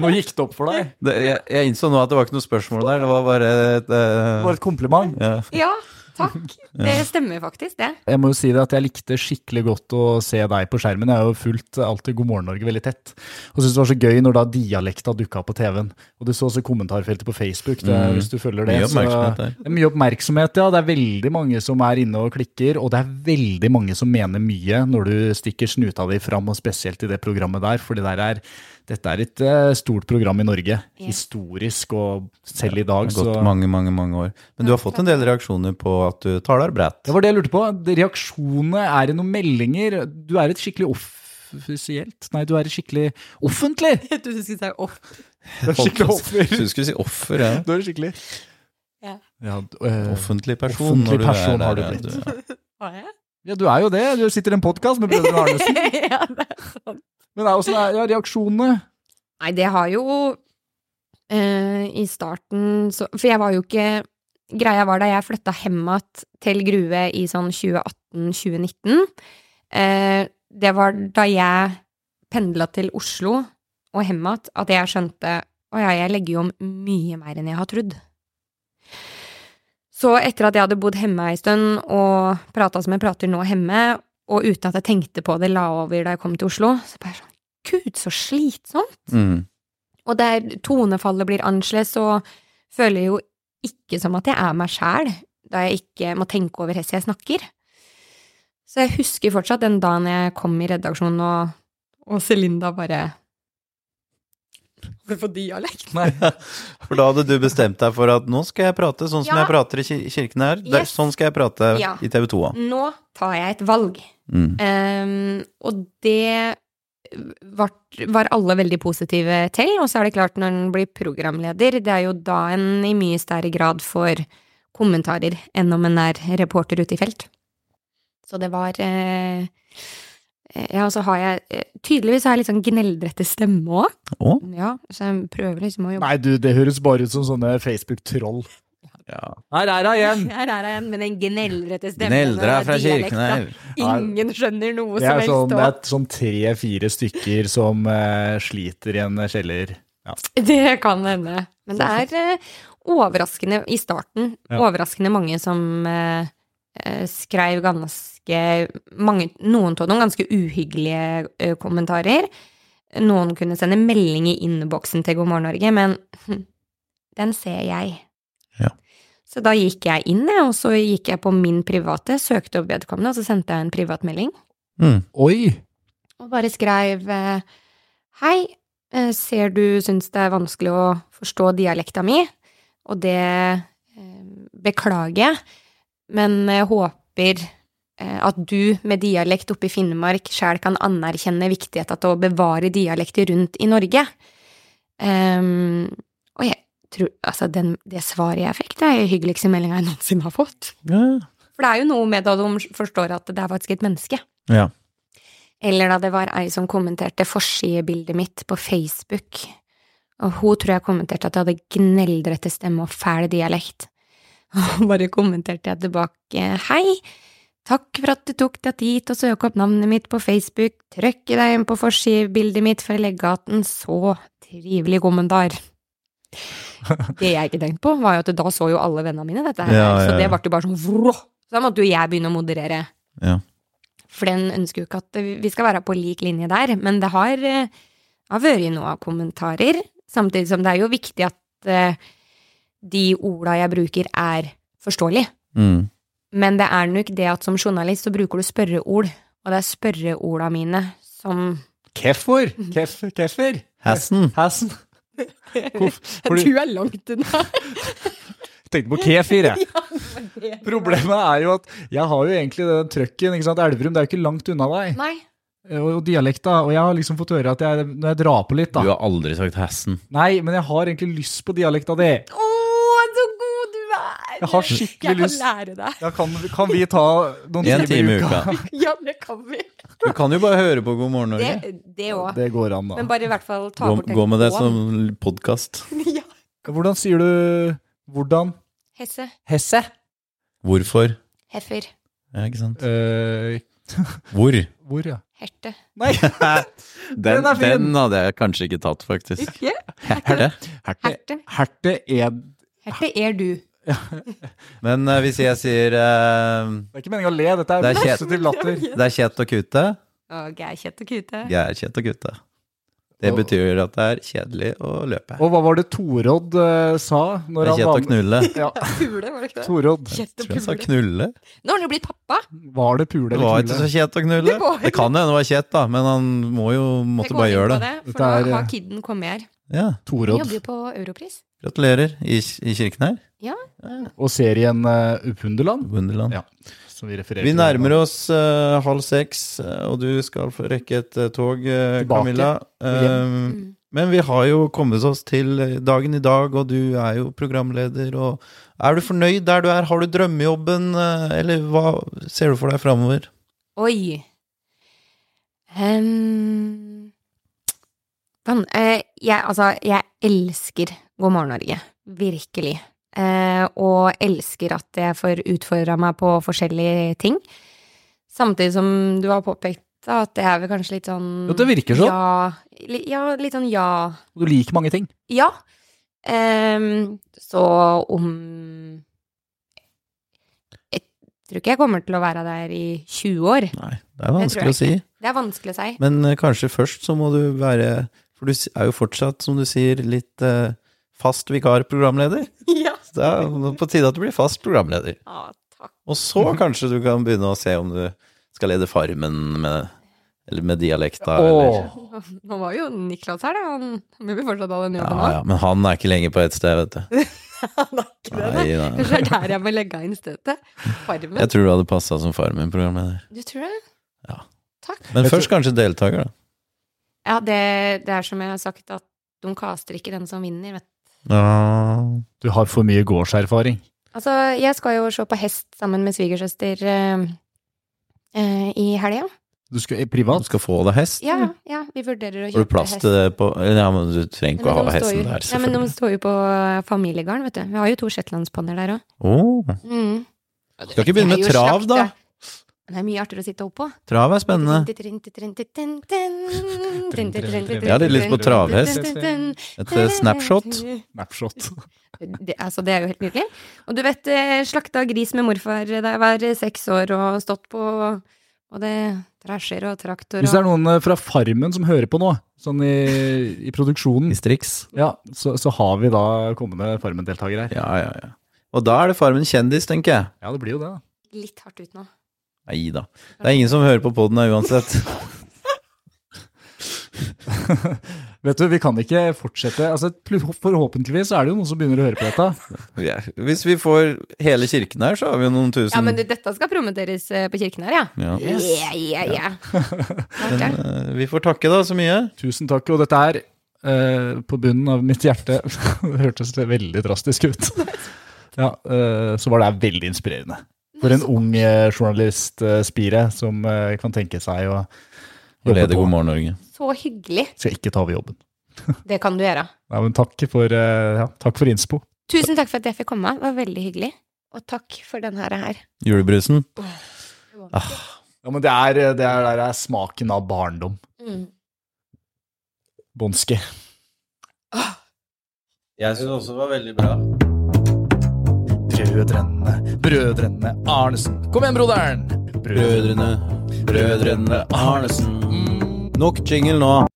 Speaker 1: Nå gikk det opp for deg.
Speaker 2: Det, jeg, jeg innså nå at det var ikke noe spørsmål der, det var bare et
Speaker 1: Det
Speaker 2: eh,
Speaker 1: var et kompliment.
Speaker 2: ja.
Speaker 3: Ja, takk. Det stemmer faktisk, det.
Speaker 1: Jeg må jo si det at jeg likte skikkelig godt å se deg på skjermen. Jeg har jo fulgt alltid God morgen Norge veldig tett. Og syntes det var så gøy når da dialekta dukka opp på TV-en. Og du så også kommentarfeltet på Facebook, det,
Speaker 2: Mm.
Speaker 1: hvis du følger det.
Speaker 2: Mye
Speaker 1: så-
Speaker 2: oppmerksomhet der.
Speaker 1: Det er mye oppmerksomhet, ja. Det er veldig mange som er inne og klikker, og det er veldig mange som mener mye når du stikker snuta di fram, og spesielt i det programmet der, for det der er, dette er et eh, stort program i Norge.
Speaker 3: Ja.
Speaker 1: Historisk, og selv i dag,
Speaker 2: Det har
Speaker 1: så
Speaker 2: gått mange, mange mange år. Men du har fått en del reaksjoner på at du taler bredt.
Speaker 1: Det var det jeg lurte på. Reaksjonene, er det noen meldinger? Du er et skikkelig offisielt Nei, du er et skikkelig offentlig!
Speaker 3: Jeg trodde du skulle si off.
Speaker 1: Du er skikkelig offer.
Speaker 2: Du skulle si offer, ja.
Speaker 1: Du er skikkelig
Speaker 3: Ja.
Speaker 1: Ja, d- eh,
Speaker 2: Offentlig person.
Speaker 1: Offentlig
Speaker 2: når du er
Speaker 1: person har
Speaker 2: der,
Speaker 1: du
Speaker 2: ja,
Speaker 1: blitt.
Speaker 2: ja.
Speaker 3: Var jeg?
Speaker 1: ja, du er jo det. Du sitter i en podkast med Brødrene Arnesen.
Speaker 3: ja, det er sånn.
Speaker 1: Men det er også ja, reaksjonene.
Speaker 3: Nei, det har jo eh, I starten så For jeg var jo ikke Greia var da jeg flytta hjem igjen til Grue i sånn 2018-2019. Eh, det var da jeg pendla til Oslo og hjem igjen at jeg skjønte Å ja, jeg legger jo om mye mer enn jeg har trodd. Så etter at jeg hadde bodd hjemme ei stund og prata som jeg prater nå hjemme, og uten at jeg tenkte på det, la over da jeg kom til Oslo, så bare sånn Gud, så slitsomt!
Speaker 2: Mm.
Speaker 3: Og der tonefallet blir annerledes, og føler jeg jo ikke som at jeg er meg sjæl, da jeg ikke må tenke over hvordan jeg snakker. Så jeg husker fortsatt den dagen jeg kom i redaksjonen, og, og Celinda bare Har du fått dialekt?
Speaker 1: Nei.
Speaker 2: For da hadde du bestemt deg for at nå skal jeg prate sånn som
Speaker 3: Ja.
Speaker 2: jeg prater i ki- kirken her. Der,
Speaker 3: Yes.
Speaker 2: sånn skal jeg prate
Speaker 3: Ja.
Speaker 2: i TV 2.
Speaker 3: Nå tar jeg et valg.
Speaker 2: Mm.
Speaker 3: Ehm, og det var, var alle veldig positive til. Og så er det klart, når en blir programleder, det er jo da en i mye større grad får kommentarer enn om en er reporter ute i felt. Så det var eh, Ja, og så har jeg eh, Tydeligvis har jeg litt sånn gneldrette stemme òg.
Speaker 2: Å?
Speaker 3: Ja, så jeg prøver liksom å jobbe
Speaker 1: Nei, du, det høres bare ut som sånne Facebook-troll.
Speaker 2: Ja.
Speaker 1: Her er hun igjen!
Speaker 3: Her er jeg igjen med den gneldrette stemmen. og
Speaker 2: Gneldra fra
Speaker 3: dialekta.
Speaker 2: kirken her.
Speaker 3: Ingen skjønner noe
Speaker 1: Det
Speaker 3: som
Speaker 1: er
Speaker 3: helst.
Speaker 1: sånn,
Speaker 3: og-
Speaker 1: det er sånn tre-fire stykker som eh, sliter i en kjeller.
Speaker 3: Det kan hende. Men det er eh, overraskende, i starten,
Speaker 1: Ja.
Speaker 3: overraskende mange som eh, eh, skrev ganske mange, Noen av noen ganske uhyggelige eh, kommentarer. Noen kunne sende melding i innboksen til God morgen Norge, men hm, den ser jeg.
Speaker 2: Ja.
Speaker 3: Så da gikk jeg inn, jeg, og så gikk jeg på min private, søkte opp vedkommende, og så sendte jeg en privatmelding.
Speaker 2: Mm.
Speaker 1: Oi!
Speaker 3: Og bare skrev eh, Hei, eh, ser du syns det er vanskelig å forstå dialekta mi, og det eh, beklager jeg, men jeg håper eh, at du med dialekt oppe i Finnmark sjæl kan anerkjenne viktigheten av å bevare dialekter rundt i Norge. Ehm, og jeg tror Altså, den, det svaret jeg fikk, det er den hyggeligste meldinga jeg noensinne har fått.
Speaker 2: Ja.
Speaker 3: For det er jo noe med da de forstår at det er faktisk et menneske.
Speaker 2: Ja.
Speaker 3: Eller da det var ei som kommenterte forsidebildet mitt på Facebook, og hun tror jeg kommenterte at jeg hadde gneldrete stemme og fæl dialekt. Og bare kommenterte jeg tilbake hei, takk for at du tok deg tid til å søke opp navnet mitt på Facebook, trykk deg inn på forsidebildet mitt for å legge igjen en så trivelig kommentar. Det jeg ikke tenkte på, var jo at da så jo alle vennene mine dette her,
Speaker 2: Ja, ja,
Speaker 3: så
Speaker 2: ja.
Speaker 3: det ble jo bare sånn vrå. Så da måtte jo jeg begynne å moderere.
Speaker 2: Ja.
Speaker 3: For den ønsker jo ikke at vi skal være på lik linje der, men det har, eh, har vært noen kommentarer, samtidig som det er jo viktig at eh, de orda jeg bruker er forståelige.
Speaker 2: Mm.
Speaker 3: Men det er nok det at som journalist så bruker du spørreord, og det er spørreorda mine som
Speaker 1: Keffer!
Speaker 3: Mhm.
Speaker 1: Kef, keffer!
Speaker 2: Hassen.
Speaker 1: Hassen. Hvorf- fordi-
Speaker 3: er langt unna!
Speaker 1: Tenkte på kefir, jeg.
Speaker 3: Ja, men det-
Speaker 1: Problemet er jo at jeg har jo egentlig den trøkken, ikke sant. Elverum, det er jo ikke langt unna deg.
Speaker 3: Nei.
Speaker 1: Og, Eh, og dialekta. Og jeg har liksom fått høre at jeg, når jeg drar på litt,
Speaker 2: Du
Speaker 1: da
Speaker 2: har aldri sagt hassen.
Speaker 1: Nei, men jeg har egentlig lyst på dialekta di.
Speaker 3: Å, så god du er!
Speaker 1: Jeg har skikkelig
Speaker 3: Jeg kan
Speaker 1: lyst.
Speaker 3: lære deg.
Speaker 1: Ja, kan, kan vi ta noen
Speaker 2: En time i uka.
Speaker 3: Ja, det kan vi.
Speaker 2: Du kan jo bare høre på God morgen Norge.
Speaker 3: Det, det òg.
Speaker 1: Det går an,
Speaker 3: Men
Speaker 1: da.
Speaker 3: bare i hvert fall ta
Speaker 2: Gå,
Speaker 3: bort den
Speaker 2: gå med det
Speaker 3: K-en.
Speaker 2: som podkast.
Speaker 3: ja.
Speaker 1: Hvordan sier du hvordan?
Speaker 3: Hesse.
Speaker 1: Hesse?
Speaker 2: Hvorfor?
Speaker 3: Heffer.
Speaker 2: Ja, ikke sant?
Speaker 1: Eh,
Speaker 2: Hvor?
Speaker 1: hvor, ja.
Speaker 3: Herte.
Speaker 1: Nei!
Speaker 2: Den,
Speaker 1: Den er fin.
Speaker 2: den hadde jeg kanskje ikke tatt, faktisk.
Speaker 3: Ikke?
Speaker 2: Herte.
Speaker 1: Herte,
Speaker 3: Herte.
Speaker 1: herte ed
Speaker 3: Herte er du.
Speaker 2: Men eh, hvis jeg sier eh,
Speaker 1: Det er ikke meningen å le, dette
Speaker 2: Det
Speaker 1: er
Speaker 2: er kjedelig.
Speaker 1: positiv latter.
Speaker 2: det er kjett og kute,
Speaker 3: Og geikjøtt og kute.
Speaker 2: jeg er kjett og kute. Det betyr at det er kjedelig å løpe.
Speaker 1: Og hva var det Torodd eh, sa
Speaker 2: Det
Speaker 1: når
Speaker 2: er
Speaker 1: han
Speaker 2: kjett
Speaker 1: var
Speaker 2: å knulle.
Speaker 1: Ja,
Speaker 3: Pule, var det ikke det?
Speaker 1: Torodd.
Speaker 3: Kjøtt og
Speaker 2: Tror jeg sa
Speaker 3: pule.
Speaker 2: knulle.
Speaker 3: Nå har han jo blitt pappa.
Speaker 1: Var det pule
Speaker 2: Det var
Speaker 1: eller
Speaker 2: ikke så
Speaker 1: knulle?
Speaker 2: kjett å knulle.
Speaker 3: Det var
Speaker 2: Det kan hende det var kjett, da, men han må jo måtte
Speaker 3: Jeg går
Speaker 2: bare
Speaker 3: inn
Speaker 2: gjøre
Speaker 3: på
Speaker 2: det.
Speaker 3: For
Speaker 1: Dette er,
Speaker 3: nå
Speaker 1: eh,
Speaker 3: har kiden kommet her.
Speaker 2: Ja.
Speaker 3: Han
Speaker 1: Torodd.
Speaker 3: jobber jo på Europris.
Speaker 2: Gratulerer i, i kirken her.
Speaker 1: Og serien uh, Upunderland,
Speaker 2: Wunderland.
Speaker 1: Ja. som vi refererer
Speaker 2: Vi nærmer oss eh, halv seks, eh, og du skal få rekke et eh, tog, eh,
Speaker 1: Tilbake.
Speaker 2: Camilla. Eh,
Speaker 3: Mm.
Speaker 2: men vi har jo kommet oss til eh, dagen i dag, og du er jo programleder. Og er du fornøyd der du er? Har du drømmejobben, eh, eller hva ser du for deg framover?
Speaker 3: Oi. Ehm. Van- eh, jeg, altså, jeg elsker God morgen, Norge. Virkelig. Eh, og elsker at jeg får utfordra meg på forskjellige ting. Samtidig som du har påpekt da, at det er vel kanskje litt sånn
Speaker 1: Ja, det virker sånn.
Speaker 3: Ja, li, ja litt sånn ja.
Speaker 1: Du liker mange ting.
Speaker 3: Ja. Ehm, så om Jeg tror ikke jeg kommer til å være der i 20 år.
Speaker 2: Nei, det er
Speaker 3: Det tror jeg
Speaker 2: vanskelig å si.
Speaker 3: Det er vanskelig å si.
Speaker 2: Men eh, kanskje først så må du være For du s- er jo fortsatt, som du sier, litt eh, fast vikarprogramleder.
Speaker 3: Ja.
Speaker 2: Så det er på tide at du blir fast programleder.
Speaker 3: takk.
Speaker 2: Og så kanskje du kan begynne å se om du skal lede Farmen med, eller med dialekt, da. Eller.
Speaker 1: Åh,
Speaker 3: Nå var jo Niklas her, da. Han vil vi fortsatt ha den
Speaker 2: Ja,
Speaker 3: jobben
Speaker 2: ja, men han er ikke lenger på ett sted, vet du.
Speaker 3: nå.
Speaker 2: Nei, nei.
Speaker 3: Kanskje det er der jeg må legge inn støtet. Farmen.
Speaker 2: Jeg tror du hadde passa som Farmen-programleder.
Speaker 3: Du tror det?
Speaker 2: Ja.
Speaker 3: Takk.
Speaker 2: Men
Speaker 1: Jeg
Speaker 2: først kanskje deltaker, da.
Speaker 3: Ja, det, det er som jeg har sagt, at de kaster ikke den som vinner, vet du.
Speaker 1: du har for mye gårdserfaring.
Speaker 3: Altså, jeg skal jo se på hest sammen med svigersøster eh, eh, i helga.
Speaker 1: Du skal, i
Speaker 2: Du
Speaker 1: privat?
Speaker 2: skal få deg hest.
Speaker 3: Ja, ja, vi vurderer å
Speaker 2: Mm. Har du
Speaker 3: kjøpe
Speaker 2: plass til det på Ja, men du trenger ikke å
Speaker 3: Nei, men
Speaker 2: ha
Speaker 3: de
Speaker 2: hesten
Speaker 3: står jo-
Speaker 2: der,
Speaker 3: Nei, men de
Speaker 2: selvfølgelig.
Speaker 3: står jo på familiegarden, vet du. Vi har jo to shetlandsponnier der òg.
Speaker 2: Åh.
Speaker 3: Mm.
Speaker 2: Skal ikke begynne med
Speaker 3: Det er jo
Speaker 2: trav, da?
Speaker 3: slakt, Det er mye artigere å sitte oppå.
Speaker 2: Trav er spennende.
Speaker 3: Jeg
Speaker 1: Jeg
Speaker 2: hadde litt lyst på travhest. Et eh, snapshot.
Speaker 1: Snapshot.
Speaker 3: Det, altså, det er jo helt nydelig. Og du vet, eh, slakta gris med morfar da jeg var eh, seks år og stått på, og det trasjer og traktor
Speaker 1: Hvis det er
Speaker 3: og
Speaker 1: noen eh, fra Farmen som hører på nå, sånn i, i produksjonen,
Speaker 2: I striks.
Speaker 1: ja, så, så har vi da kommende Farmen-deltakere her.
Speaker 2: Ja, ja, ja. Og da er det Farmen kjendis, tenker jeg.
Speaker 1: Ja, det blir jo det. da.
Speaker 3: Litt hardt ut nå.
Speaker 2: Nei da. Det er ingen som hører på poden her uansett.
Speaker 1: Vet du, vi kan ikke fortsette. Altså, forhåpentligvis er det jo noen som begynner å høre på dette.
Speaker 2: Vi er- Hvis vi får hele kirken her, så har vi jo noen tusen.
Speaker 3: Ja, men du, dette skal promoteres eh, på kirken her, ja.
Speaker 2: Ja.
Speaker 1: Yes.
Speaker 3: Yeah, yeah, yeah. Klart det.
Speaker 2: Men, eh, vi får takke da så mye.
Speaker 1: Tusen takk, og dette er eh, på bunnen av mitt hjerte. det hørtes veldig drastisk ut. Ja, eh, så var det her veldig inspirerende. For en ung eh, journalist, eh, Spire, som eh, kan tenke seg å
Speaker 2: Og
Speaker 1: jobbe
Speaker 2: lede
Speaker 1: på.
Speaker 2: God morgen, Norge.
Speaker 3: Så hyggelig.
Speaker 1: Skal ikke ta over jobben.
Speaker 3: Det kan du gjøre.
Speaker 1: Nei, men takk for, eh, ja, takk for innspo.
Speaker 3: Tusen takk for at jeg fikk komme. Det var veldig hyggelig. Og takk for den her. her.
Speaker 2: Julebrusen.
Speaker 1: Ja, men det er, eh, det er, det er smaken av barndom. Bånske.
Speaker 2: Jeg syns også det var veldig bra.
Speaker 1: Brødrene, brødrene Arnesen. Kom igjen, broderen! Mm.
Speaker 2: Brødrene, brødrene Arnesen. Nok jingle nå.